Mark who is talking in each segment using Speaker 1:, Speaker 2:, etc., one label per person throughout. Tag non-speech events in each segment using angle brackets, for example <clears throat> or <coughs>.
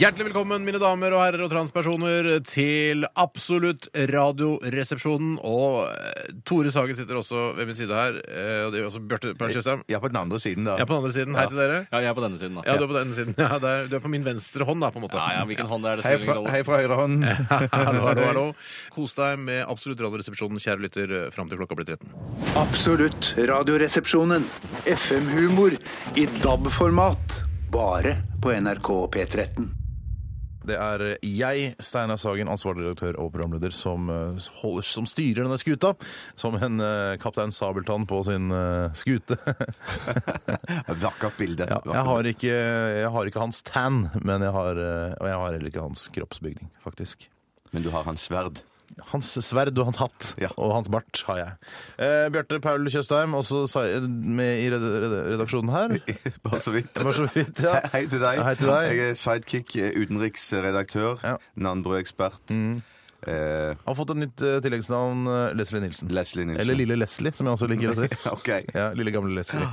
Speaker 1: Hjertelig velkommen, mine damer og herrer og transpersoner, til Absolutt Radioresepsjonen. Og eh, Tore Sagen sitter også ved min side her. eh, Og det gjør også Bjarte Perl Tjøstheim.
Speaker 2: Ja, på den andre siden, da.
Speaker 1: Jeg er på den andre siden. Hei til dere.
Speaker 3: Ja, jeg er på denne siden, da.
Speaker 1: Ja, du er på den siden. <laughs> Ja, der, du er på min venstre hånd, da, på en måte.
Speaker 3: Ja, ja, hvilken hånd det er, det
Speaker 2: Hei
Speaker 3: spiller
Speaker 2: fra,
Speaker 3: ingen rolle.
Speaker 2: hei fra høyre hånd.
Speaker 1: <laughs> Hallo, hallo, hallo.
Speaker 2: <laughs>
Speaker 1: Kos deg med Absolutt Radioresepsjonen, kjære lytter, eh, fram til klokka blir 13.
Speaker 4: Absolutt Radioresepsjonen. FM-humor i DAB-format. Bare på NRK P13.
Speaker 2: Det er eh, jeg, Steinar Sagen, ansvarlig redaktør og programleder, som, eh, holder, som styrer denne skuta. Som en eh, kaptein Sabeltann på sin eh, skute.
Speaker 5: Vakkert bilde.
Speaker 2: Ja, jeg, har ikke, jeg har ikke hans tan, men jeg har, eh, og jeg har heller ikke hans kroppsbygning, faktisk.
Speaker 5: Men du har hans sverd.
Speaker 2: Hans sverd og hans hatt
Speaker 5: Ja.
Speaker 2: og hans bart har jeg. Eh, Bjarte Paul Tjøstheim, også sa- med i red- red- redaksjonen <laughs> her.
Speaker 5: <laughs> Bare så vidt.
Speaker 1: Bare så vidt, ja.
Speaker 5: Hei til deg.
Speaker 2: Hei til deg.
Speaker 5: Jeg er sidekick, eh, utenriksredaktør,
Speaker 2: Ja. Mm.
Speaker 5: Nanbrød-ekspert. Eh,
Speaker 2: Har fått et nytt eh, tilleggsnavn, eh, Leslie Nilsen.
Speaker 5: Leslie Nilsen.
Speaker 2: Eller Lille Leslie, som jeg også liker å si.
Speaker 5: Ok.
Speaker 2: <laughs> Ja, lille gamle Leslie.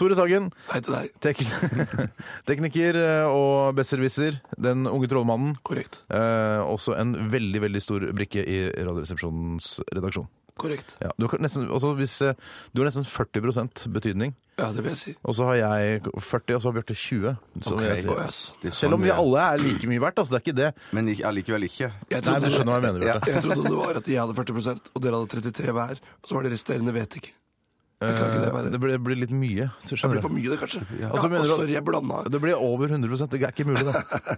Speaker 2: Tore Sagen,
Speaker 6: Hei til deg.
Speaker 2: tekn <laughs> tekniker eh, og besserwisser. Den unge trollmannen.
Speaker 6: Korrekt.
Speaker 2: Eh, også en veldig veldig stor brikke i Radioresepsjonens redaksjon.
Speaker 6: Korrekt.
Speaker 2: Ja, du, har nesten, også hvis, eh, du har nesten 40 betydning,
Speaker 6: Ja, det vil jeg si.
Speaker 2: og så har jeg 40, og så har Bjarte 20. som
Speaker 5: Ok.
Speaker 2: jeg sier.
Speaker 6: Å, yes.
Speaker 5: det er
Speaker 2: Selv om
Speaker 5: sånn det
Speaker 2: vi
Speaker 5: er.
Speaker 2: alle er like mye verdt, altså, det er ikke det.
Speaker 5: Men ikke- allikevel ikke.
Speaker 6: Jeg
Speaker 2: Nei,
Speaker 6: trodde,
Speaker 2: Du skjønner hva jeg mener, Bjarte.
Speaker 6: jeg trodde det var at jeg hadde 40 og dere hadde 33 hver. Og så var det resterende vet ikke. Jeg kan ikke det
Speaker 2: Eh,
Speaker 6: være.
Speaker 2: Det blir, det blir litt mye. så
Speaker 6: Det
Speaker 2: skjønner
Speaker 6: blir for mye, det, kanskje. Ja,
Speaker 2: Altså,
Speaker 6: og
Speaker 2: mener du at-
Speaker 6: sorry, jeg blanda.
Speaker 2: du. Det blir over 100 Det er ikke mulig, <laughs> det.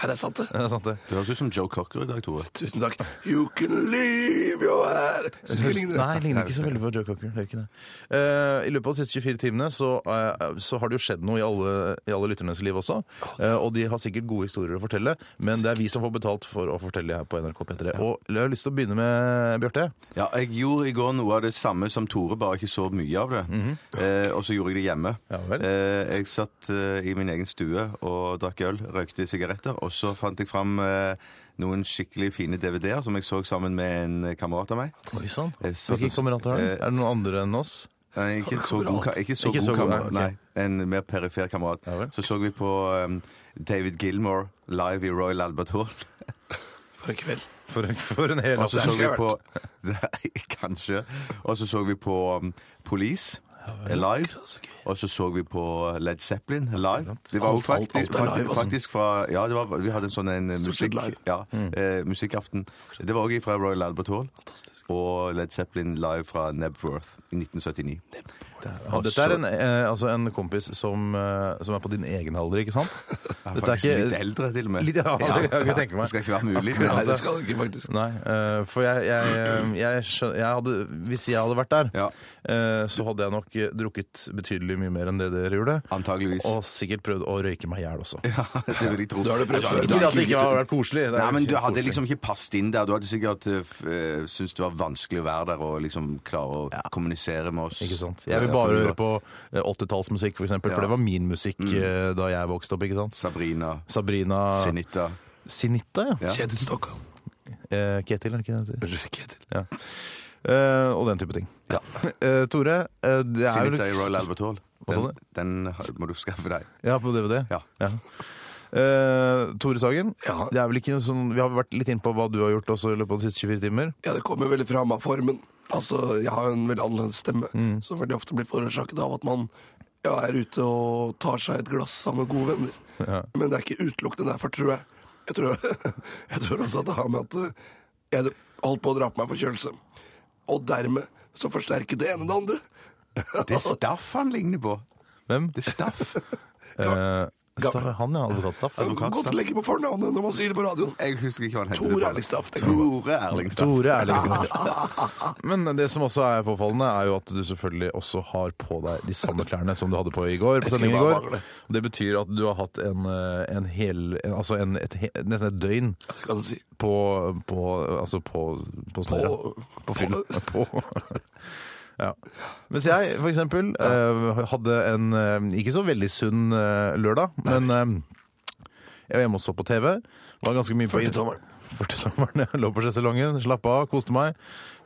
Speaker 6: Er det sant, det?
Speaker 2: det er sant, det.
Speaker 5: Du høres ut som Joe Cocker i dag, Tore.
Speaker 6: Tusen takk. You can leave your hair. Syns ikke det ligner.
Speaker 2: Nei, ligner ikke så veldig på Joe Cocker. Det gjør ikke det. Eh, I løpet av de siste 24 timene så, eh, så har det jo skjedd noe i alle, i alle lytternes liv også. Eh, og de har sikkert gode historier å fortelle, men det er vi som får betalt for å fortelle her på NRK P3. Og jeg har lyst til å begynne med Bjarte.
Speaker 5: Ja, jeg gjorde i går noe av det samme som Tore, bare ikke så mye av det. eh, og så gjorde jeg det hjemme.
Speaker 2: Mhm. Ja vel.
Speaker 5: Eh, jeg satt eh, i min egen stue og drakk øl, røykte sigaretter, og så fant jeg fram eh, noen skikkelig fine DVD-er som jeg så sammen med en kamerat av meg.
Speaker 2: Oi sann.
Speaker 5: Eh, så-
Speaker 2: Hvilke kamerater har du?
Speaker 5: Eh,
Speaker 2: Er det noen andre enn oss?
Speaker 5: Nei, ikke så god, ka- ikke så
Speaker 2: Ikke
Speaker 5: god
Speaker 2: så god,
Speaker 5: kamerat.
Speaker 2: nei,
Speaker 5: Nei,
Speaker 2: ok.
Speaker 5: en mer perifer kamerat.
Speaker 2: Ja vel.
Speaker 5: så så vi på um, David Gilmore live i Royal Albert Hall.
Speaker 6: For en kveld.
Speaker 2: For, for en hel
Speaker 5: Og så så
Speaker 2: Skulle
Speaker 5: vi
Speaker 2: jeg vært.
Speaker 5: på <laughs> Nei, Kanskje. Og så så vi på um, Police eh, live. Og så så vi på uh, Led Zeppelin eh, live. Det var jo
Speaker 6: Alt- alt- alt er
Speaker 5: faktisk,
Speaker 6: live, altså.
Speaker 5: faktisk, fra Ja, det var, vi hadde en sånn en
Speaker 6: Stort
Speaker 5: musikk,
Speaker 6: sett live.
Speaker 5: ja, eh, musikkaften. Det var òg fra Royal Albert Hall. Og Led Zeppelin live fra Nebworth i 1979.
Speaker 2: Ja, dette er en, eh, altså en kompis som, eh, som er på din egen alder, ikke <laughs> sant?
Speaker 5: Jeg er faktisk litt eldre, til og med.
Speaker 2: Litt- ja, det kan jeg tenke meg.
Speaker 5: Det skal ikke være mulig. altså,
Speaker 6: Nei, det skal det ikke, faktisk.
Speaker 2: Nei, eh, for jeg, jeg, eh, jeg, skjøn, jeg hadde, Hvis jeg hadde vært der,
Speaker 5: Ja.
Speaker 2: eh, så hadde jeg nok eh, drukket betydelig mye mer enn det dere gjorde.
Speaker 5: Antageligvis.
Speaker 2: Og sikkert prøvd å røyke meg i hjel også.
Speaker 5: Ja, <laughs> det vil jeg tro.
Speaker 6: Da har du prøvd før.
Speaker 2: Ikke at det ikke hadde vært koselig. det er
Speaker 5: Nei, men Du
Speaker 2: ikke
Speaker 5: hadde
Speaker 2: koselig.
Speaker 5: liksom ikke passet inn der. Du hadde sikkert eh, f- eh, syntes det var vanskelig å være der og liksom klare å kommunisere med oss.
Speaker 2: Ikke sant? Jeg vil bare høre på eh, 80-tallsmusikk, for eksempel, for
Speaker 5: Ja. Mm.
Speaker 2: det var min musikk eh, da jeg vokste opp. ikke sant?
Speaker 5: Sabrina,
Speaker 2: Sabrina
Speaker 5: Sinita
Speaker 2: Sinitta, ja.
Speaker 5: Ja.
Speaker 6: Kjetil Stokkan.
Speaker 2: Eh, Ketil, er det ikke det? det? heter?
Speaker 6: Unnskyld, Kjetil.
Speaker 2: Ja. Eh, og den type ting. <laughs> Eh, Tore, eh, det er jo
Speaker 5: Sinita i Royal Albert Hall.
Speaker 2: Hva sa
Speaker 5: Den, den har- må du skaffe deg.
Speaker 2: Ja, på DVD?
Speaker 5: Ja.
Speaker 2: Eh, Tore Sagen,
Speaker 6: Ja.
Speaker 2: det er vel ikke noe sånn, vi har vært litt inne på hva du har gjort også i løpet av de siste 24 timer.
Speaker 6: Ja, det kommer veldig fram av formen. Altså, Jeg har jo en veldig annerledes stemme, som veldig ofte blir forårsaket av at man ja, er ute og tar seg et glass sammen med gode venner. Men det er ikke utelukkende derfor, tror jeg. Jeg tror, <laughs> jeg tror også at det har med at eh, jeg holdt på å dra på meg forkjølelse. Og dermed så forsterket det ene det andre.
Speaker 5: Det er Staff han ligner på.
Speaker 2: Hvem?
Speaker 5: Det er <laughs> Staff.
Speaker 2: Eh, Staff, han, ja. Advokatstaff.
Speaker 6: Det er Godt å legge på fornavnet når man sier det på radioen.
Speaker 5: Jeg husker ikke hva han heter.
Speaker 6: Tor Erlingstaff. det kan vi-
Speaker 5: Tore Erlingstaff.
Speaker 2: Tore er det. <laughs> Men det som også er påfallende, er jo at du selvfølgelig også har på deg de samme klærne som du hadde på i går. På
Speaker 6: skulle
Speaker 2: sendingen i
Speaker 6: bare
Speaker 2: går.
Speaker 6: mangle.
Speaker 2: Og Det betyr at du har hatt en, eh, en hel en, Altså en, et, he- nesten et døgn
Speaker 6: Det kan du si.
Speaker 2: <laughs> på På, altså på, på snøra.
Speaker 6: På-
Speaker 2: På fylla. På Ja. Mens jeg for eksempel eh, hadde en eh, ikke så veldig sunn eh, lørdag, men eh, jeg var hjemme og så på TV. Var ganske mye på
Speaker 6: 40-tommeren.
Speaker 2: 40-tommeren, ja. Lå på sjeselongen, slappa av, koste meg.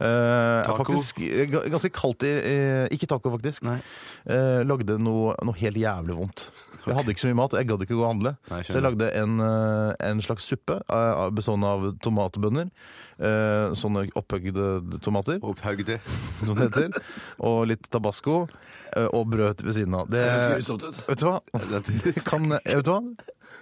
Speaker 2: Eh, er
Speaker 5: Taco.
Speaker 2: Faktisk, eh, ga- ganske kaldt i eh, Ikke taco, faktisk. Eh, lagde noe, noe helt jævlig vondt. Jeg hadde ikke så mye mat, og jeg gadd ikke gå og handle.
Speaker 5: Nei, jeg skjønner.
Speaker 2: så jeg lagde en, eh, en slags suppe eh, bestående av tomatbønner. eh, Sånne opphøgde tomater
Speaker 5: Opphøgde.
Speaker 2: som det heter. Og litt tabasco. eh, Og brød ved siden av. Det,
Speaker 6: Det ser grusomt ut.
Speaker 2: vet du <laughs> hva? Kan, vet du hva?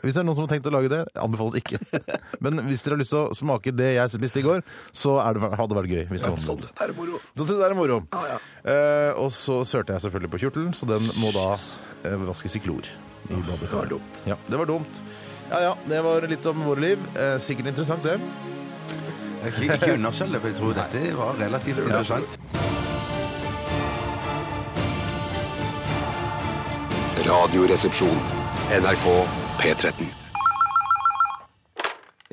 Speaker 2: Hvis det er noen som har tenkt å lage det, anbefales ikke. <laughs> Men hvis dere har lyst til å smake det jeg spiste i går, så er det, hadde det vært gøy. Hvis noen-
Speaker 6: Sånn sett er det moro.
Speaker 2: Da synes jeg det er moro.
Speaker 6: Ja, ja.
Speaker 2: Eh, og så sørte jeg selvfølgelig på kjortelen, så den må da eh, vaskes i klor. I
Speaker 6: Det var dumt.
Speaker 2: ja, det var dumt. Ja ja, det var litt om våre liv. Eh, sikkert interessant, det.
Speaker 5: Ikke, ikke underselg det, for jeg tror dette var relativt interessant.
Speaker 7: Radioresepsjon. NRK P13.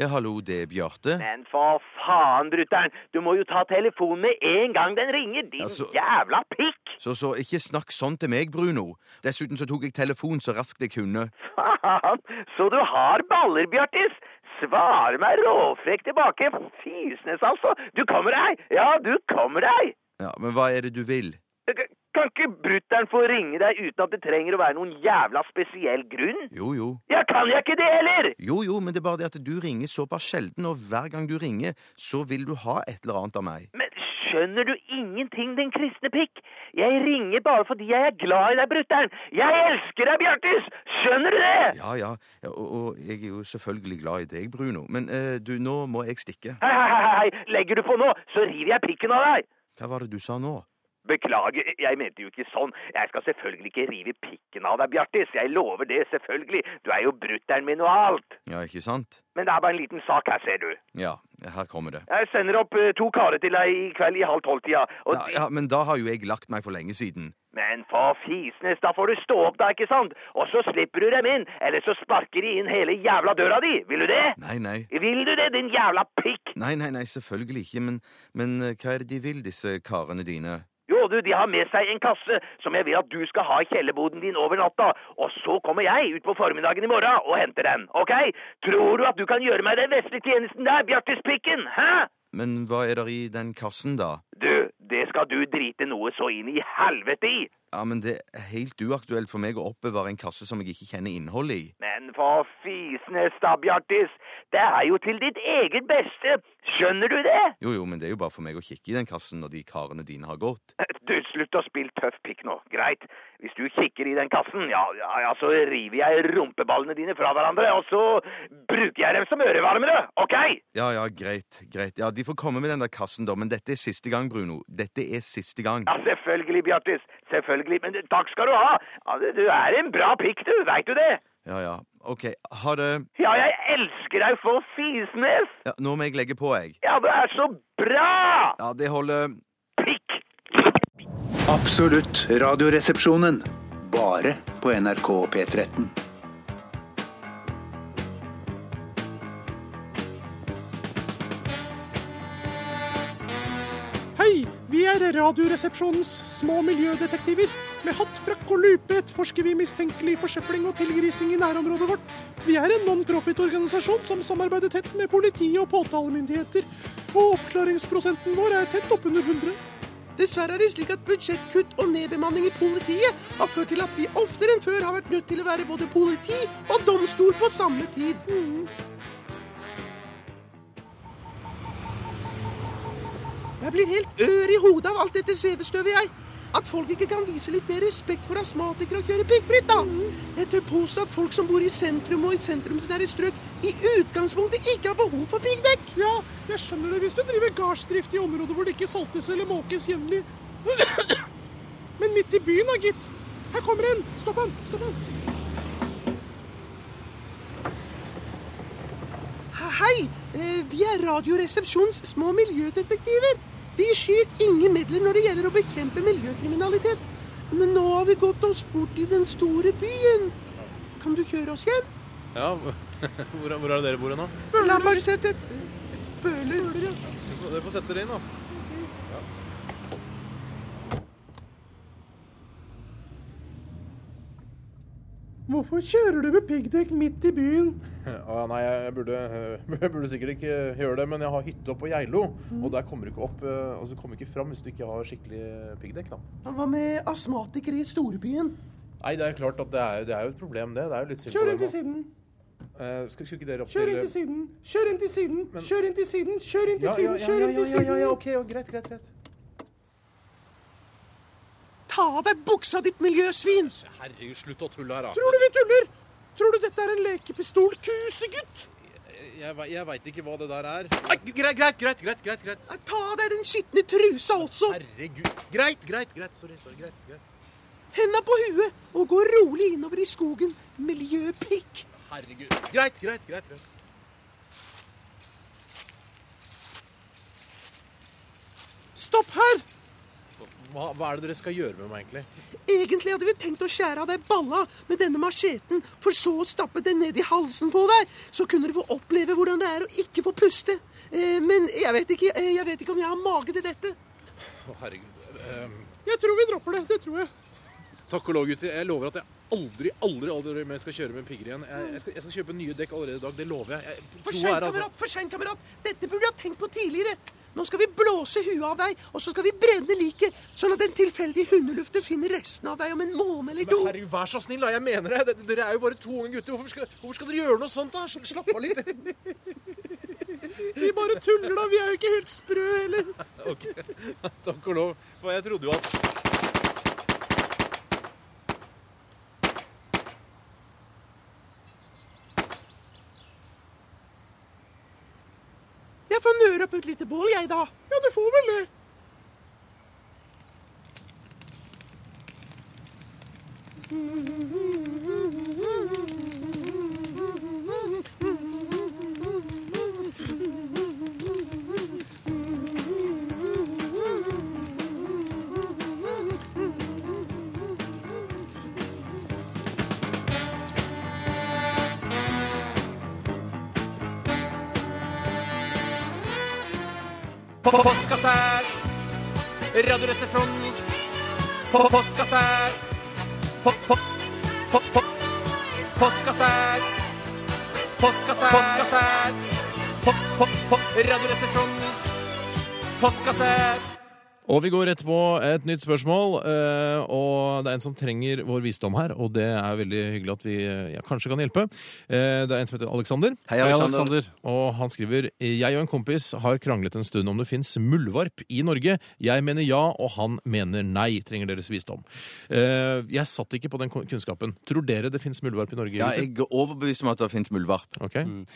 Speaker 5: Ja, hallo, det er Bjarte.
Speaker 8: Men for faen, brutter'n! Du må jo ta telefonen med en gang den ringer, din
Speaker 5: Altså-
Speaker 8: jævla pikk! <laughs>
Speaker 5: Så, så ikke snakk sånn til meg, Bruno. Dessuten så tok jeg telefon så raskt jeg kunne.
Speaker 8: Faen! Så du har baller, Bjartis! Svar meg råfrekk tilbake! Fisnes, altså! Du kommer deg! Ja, du kommer deg!
Speaker 5: Ja, Men hva er det du vil?
Speaker 8: K- Kan ikke brutter'n få ringe deg uten at det trenger å være noen jævla spesiell grunn?
Speaker 5: Jo, jo.
Speaker 8: Ja, kan jeg ikke det heller!
Speaker 5: Jo, jo, men det er bare det at du ringer såpass sjelden, og hver gang du ringer, så vil du ha et eller annet av meg.
Speaker 8: Men skjønner du ingenting, din kristne pikk? Jeg ringer bare fordi jeg er glad i deg, brutter'n! Jeg elsker deg, Bjartis! Skjønner du det?
Speaker 5: Ja, ja, ja og, og jeg er jo selvfølgelig glad i deg, Bruno, men eh, du, nå må jeg stikke.
Speaker 8: Hei, hei, hei, hei, legger du på nå, så river jeg pikken av deg!
Speaker 5: Hva var det du sa nå?
Speaker 8: Beklager, jeg mente jo ikke sånn. Jeg skal selvfølgelig ikke rive pikken av deg, Bjartis. Jeg lover det, selvfølgelig. Du er jo brutter'n min og alt.
Speaker 5: Ja, ikke sant?
Speaker 8: Men det er bare en liten sak her, ser du.
Speaker 5: Ja, her kommer det.
Speaker 8: Jeg sender opp eh, to karer til deg i kveld i halv tolv-tida. Og
Speaker 5: Ja, ja, men da har jo jeg lagt meg for lenge siden.
Speaker 8: Men for fisnes, da får du stå opp da, ikke sant? Og så slipper du dem inn, eller så sparker de inn hele jævla døra di. Vil du det?
Speaker 5: Nei, nei.
Speaker 8: Vil du det, din jævla pikk?
Speaker 5: Nei, nei, nei, selvfølgelig ikke, men, men eh, hva er det de vil, disse karene dine?
Speaker 8: Jo, du, de har med seg en kasse som jeg vil at du skal ha i kjellerboden din over natta. Og så kommer jeg ut på formiddagen i morgen og henter den, OK? Tror du at du kan gjøre meg den vesle tjenesten der, Bjartispikken? Hæ?
Speaker 5: Men hva er der i den kassen, da?
Speaker 8: Du, det skal du drite noe så inn i helvete i.
Speaker 5: Ja, men det er helt uaktuelt for meg å oppbevare en kasse som jeg ikke kjenner innholdet i.
Speaker 8: Men for fisnes da, Bjartis. Det er jo til ditt eget beste. Skjønner du det?
Speaker 5: Jo, jo, men det er jo bare for meg å kikke i den kassen når de karene dine har gått.
Speaker 8: Du, slutt å spille tøff pikk nå. Greit. Hvis du kikker i den kassen, ja, ja, ja, så river jeg rumpeballene dine fra hverandre, og så bruker jeg dem som ørevarmere, OK?
Speaker 5: Ja, ja, greit, greit. Ja, de får komme med den der kassen, da, men dette er siste gang, Bruno. Dette er siste gang.
Speaker 8: Ja, selvfølgelig, Bjartis. Selvfølgelig. Men takk skal du ha. Ja, du- Du er en bra pikk, du. Veit du det?
Speaker 5: Ja, ja. OK, ha det.
Speaker 8: Ja, jeg elsker deg for fisnes.
Speaker 5: Ja, nå må jeg legge på, jeg.
Speaker 8: Ja, du er så bra!
Speaker 5: Ja, det holder.
Speaker 8: Pikk!
Speaker 4: Absolutt radioresepsjonen. Bare på NRK P13.
Speaker 9: Hei, vi er Radioresepsjonens små miljødetektiver. Med hatt, frakk og lupe etterforsker vi mistenkelig forsøpling og tilgrising i nærområdet vårt. Vi er en non-profit-organisasjon som samarbeider tett med politiet og påtalemyndigheter. Og oppklaringsprosenten vår er tett oppunder 100. Dessverre er det slik at budsjettkutt og nedbemanning i politiet har ført til at vi oftere enn før har vært nødt til å være både politi og domstol på samme tid. Jeg blir helt ør i hodet av alt dette svevestøvet, jeg. At folk ikke kan vise litt mer respekt for astmatikere og kjøre piggfritt, da. Jeg tør påstå at folk som bor i sentrum og i sentrumsnære strøk, i utgangspunktet ikke har behov for piggdekk. Ja, jeg skjønner det hvis du driver gardsdrift i områder hvor det ikke saltes eller måkes jevnlig. <coughs> Men midt i byen da, gitt. Her kommer en! Stopp han! Stopp han! Hei! eh, Vi er Radioresepsjons små miljødetektiver. Vi skyr ingen midler når det gjelder å bekjempe miljøkriminalitet. Men nå har vi gått oss bort i den store byen. Kan du kjøre oss hjem?
Speaker 10: Ja, <laughs> hvor, hvor er det dere bor nå?
Speaker 9: La meg bare sette et Bøler.
Speaker 10: Dere får sette dere inn, da.
Speaker 9: Hvorfor kjører du med piggdekk midt i byen?
Speaker 2: Ah, nei, jeg burde, <laughs> jeg burde sikkert ikke gjøre det, men jeg har hytte oppe på Geilo. Og der kommer du ikke opp, eh, altså du kommer ikke fram hvis du ikke har skikkelig piggdekk, da.
Speaker 9: Hva med astmatikere i storbyen?
Speaker 2: Nei, det er klart at det er, det er jo et problem, det. Det er jo litt synd
Speaker 9: Kjør
Speaker 2: på
Speaker 9: inn
Speaker 2: dem
Speaker 9: til siden.
Speaker 2: også. Eh, skal, skal ikke dere opp
Speaker 9: Kjør inn til siden. Kjør inn til siden. Kjør inn til siden. Kjør inn til
Speaker 2: eh, Ja,
Speaker 9: siden.
Speaker 2: ja, ja,
Speaker 9: Kjør
Speaker 2: ja,
Speaker 9: inn til
Speaker 2: ja, ja, ja, ja,
Speaker 9: siden.
Speaker 2: OK, og greit, greit, greit.
Speaker 9: Ta av deg buksa, ditt miljøsvin!
Speaker 1: Herregud, slutt å tulle her, da.
Speaker 9: Tror du vi tuller? Tror du dette er en lekepistol, kusegutt?
Speaker 1: Jeg, ve- jeg veit ikke hva det der er.
Speaker 2: Greit, greit, greit. greit, greit, greit.
Speaker 9: Nei, Ta av deg den skitne trusa også.
Speaker 2: Herregud. Greit, greit, greit. Sorry, sorry, greit, greit.
Speaker 9: Henda på huet og gå rolig innover i skogen. Miljøpikk.
Speaker 1: Herregud.
Speaker 2: Greit, greit, greit. greit.
Speaker 9: Stopp her!
Speaker 2: Hva, hva er det dere skal gjøre med meg, egentlig?
Speaker 9: Egentlig hadde vi tenkt å skjære av deg balla med denne macheten, for så å stappe den ned i halsen på deg. Så kunne du få oppleve hvordan det er å ikke få puste. Eh, men jeg vet, ikke, eh, jeg vet ikke om jeg har mage til dette.
Speaker 2: Å, herregud. Ehm,
Speaker 9: Jeg tror vi dropper det. Det tror jeg.
Speaker 2: takk og lov, gutter. Jeg lover at jeg aldri, aldri aldri mer skal kjøre med pigger igjen. Jeg, jeg, skal, jeg skal kjøpe nye dekk allerede i dag. Det lover jeg. jeg
Speaker 9: For
Speaker 2: troa
Speaker 9: seint,
Speaker 2: er altså-
Speaker 9: kamerat! For seint, kamerat! Dette burde du ha tenkt på tidligere. Nå skal vi blåse huet av deg, og så skal vi brenne liket, sånn at den tilfeldige hundeluften finner resten av deg om en måned eller
Speaker 2: Men
Speaker 9: to.
Speaker 2: herregud, vær så snill, da. Jeg mener det. Dere- Dere er jo bare to unge gutter. Hvorfor skal, hvorfor skal dere gjøre noe sånt, da? Sl- Slapp av litt.
Speaker 9: Vi bare tuller, da. Vi er jo ikke helt sprø heller.
Speaker 2: Ok, Takk og lov. For jeg trodde jo at
Speaker 9: Jeg får nøre opp et lite bål, jeg, da. Ja, du får vel det.
Speaker 2: Postkasse her. Radioresepsjons Postkasse her. Postkasse her. Postkasse her. Postkasse her. Radioresepsjons Postkasse Og vi går rett på et nytt spørsmål. eh, Og det er en som trenger vår visdom her, og det er veldig hyggelig at vi eh, ja, kanskje kan hjelpe. Eh, Det er en som heter Alexander.
Speaker 5: Hei, Alexander.
Speaker 2: Og han skriver Jeg og en kompis har kranglet en stund om det fins muldvarp i Norge. Jeg mener ja, og han mener nei. Trenger deres visdom. Eh, jeg satt ikke på den kun- kunnskapen. Tror dere det fins muldvarp i Norge?
Speaker 5: Ja,
Speaker 2: gutter?
Speaker 5: jeg Mm. er overbevist om at det finnes muldvarp.
Speaker 2: Ok.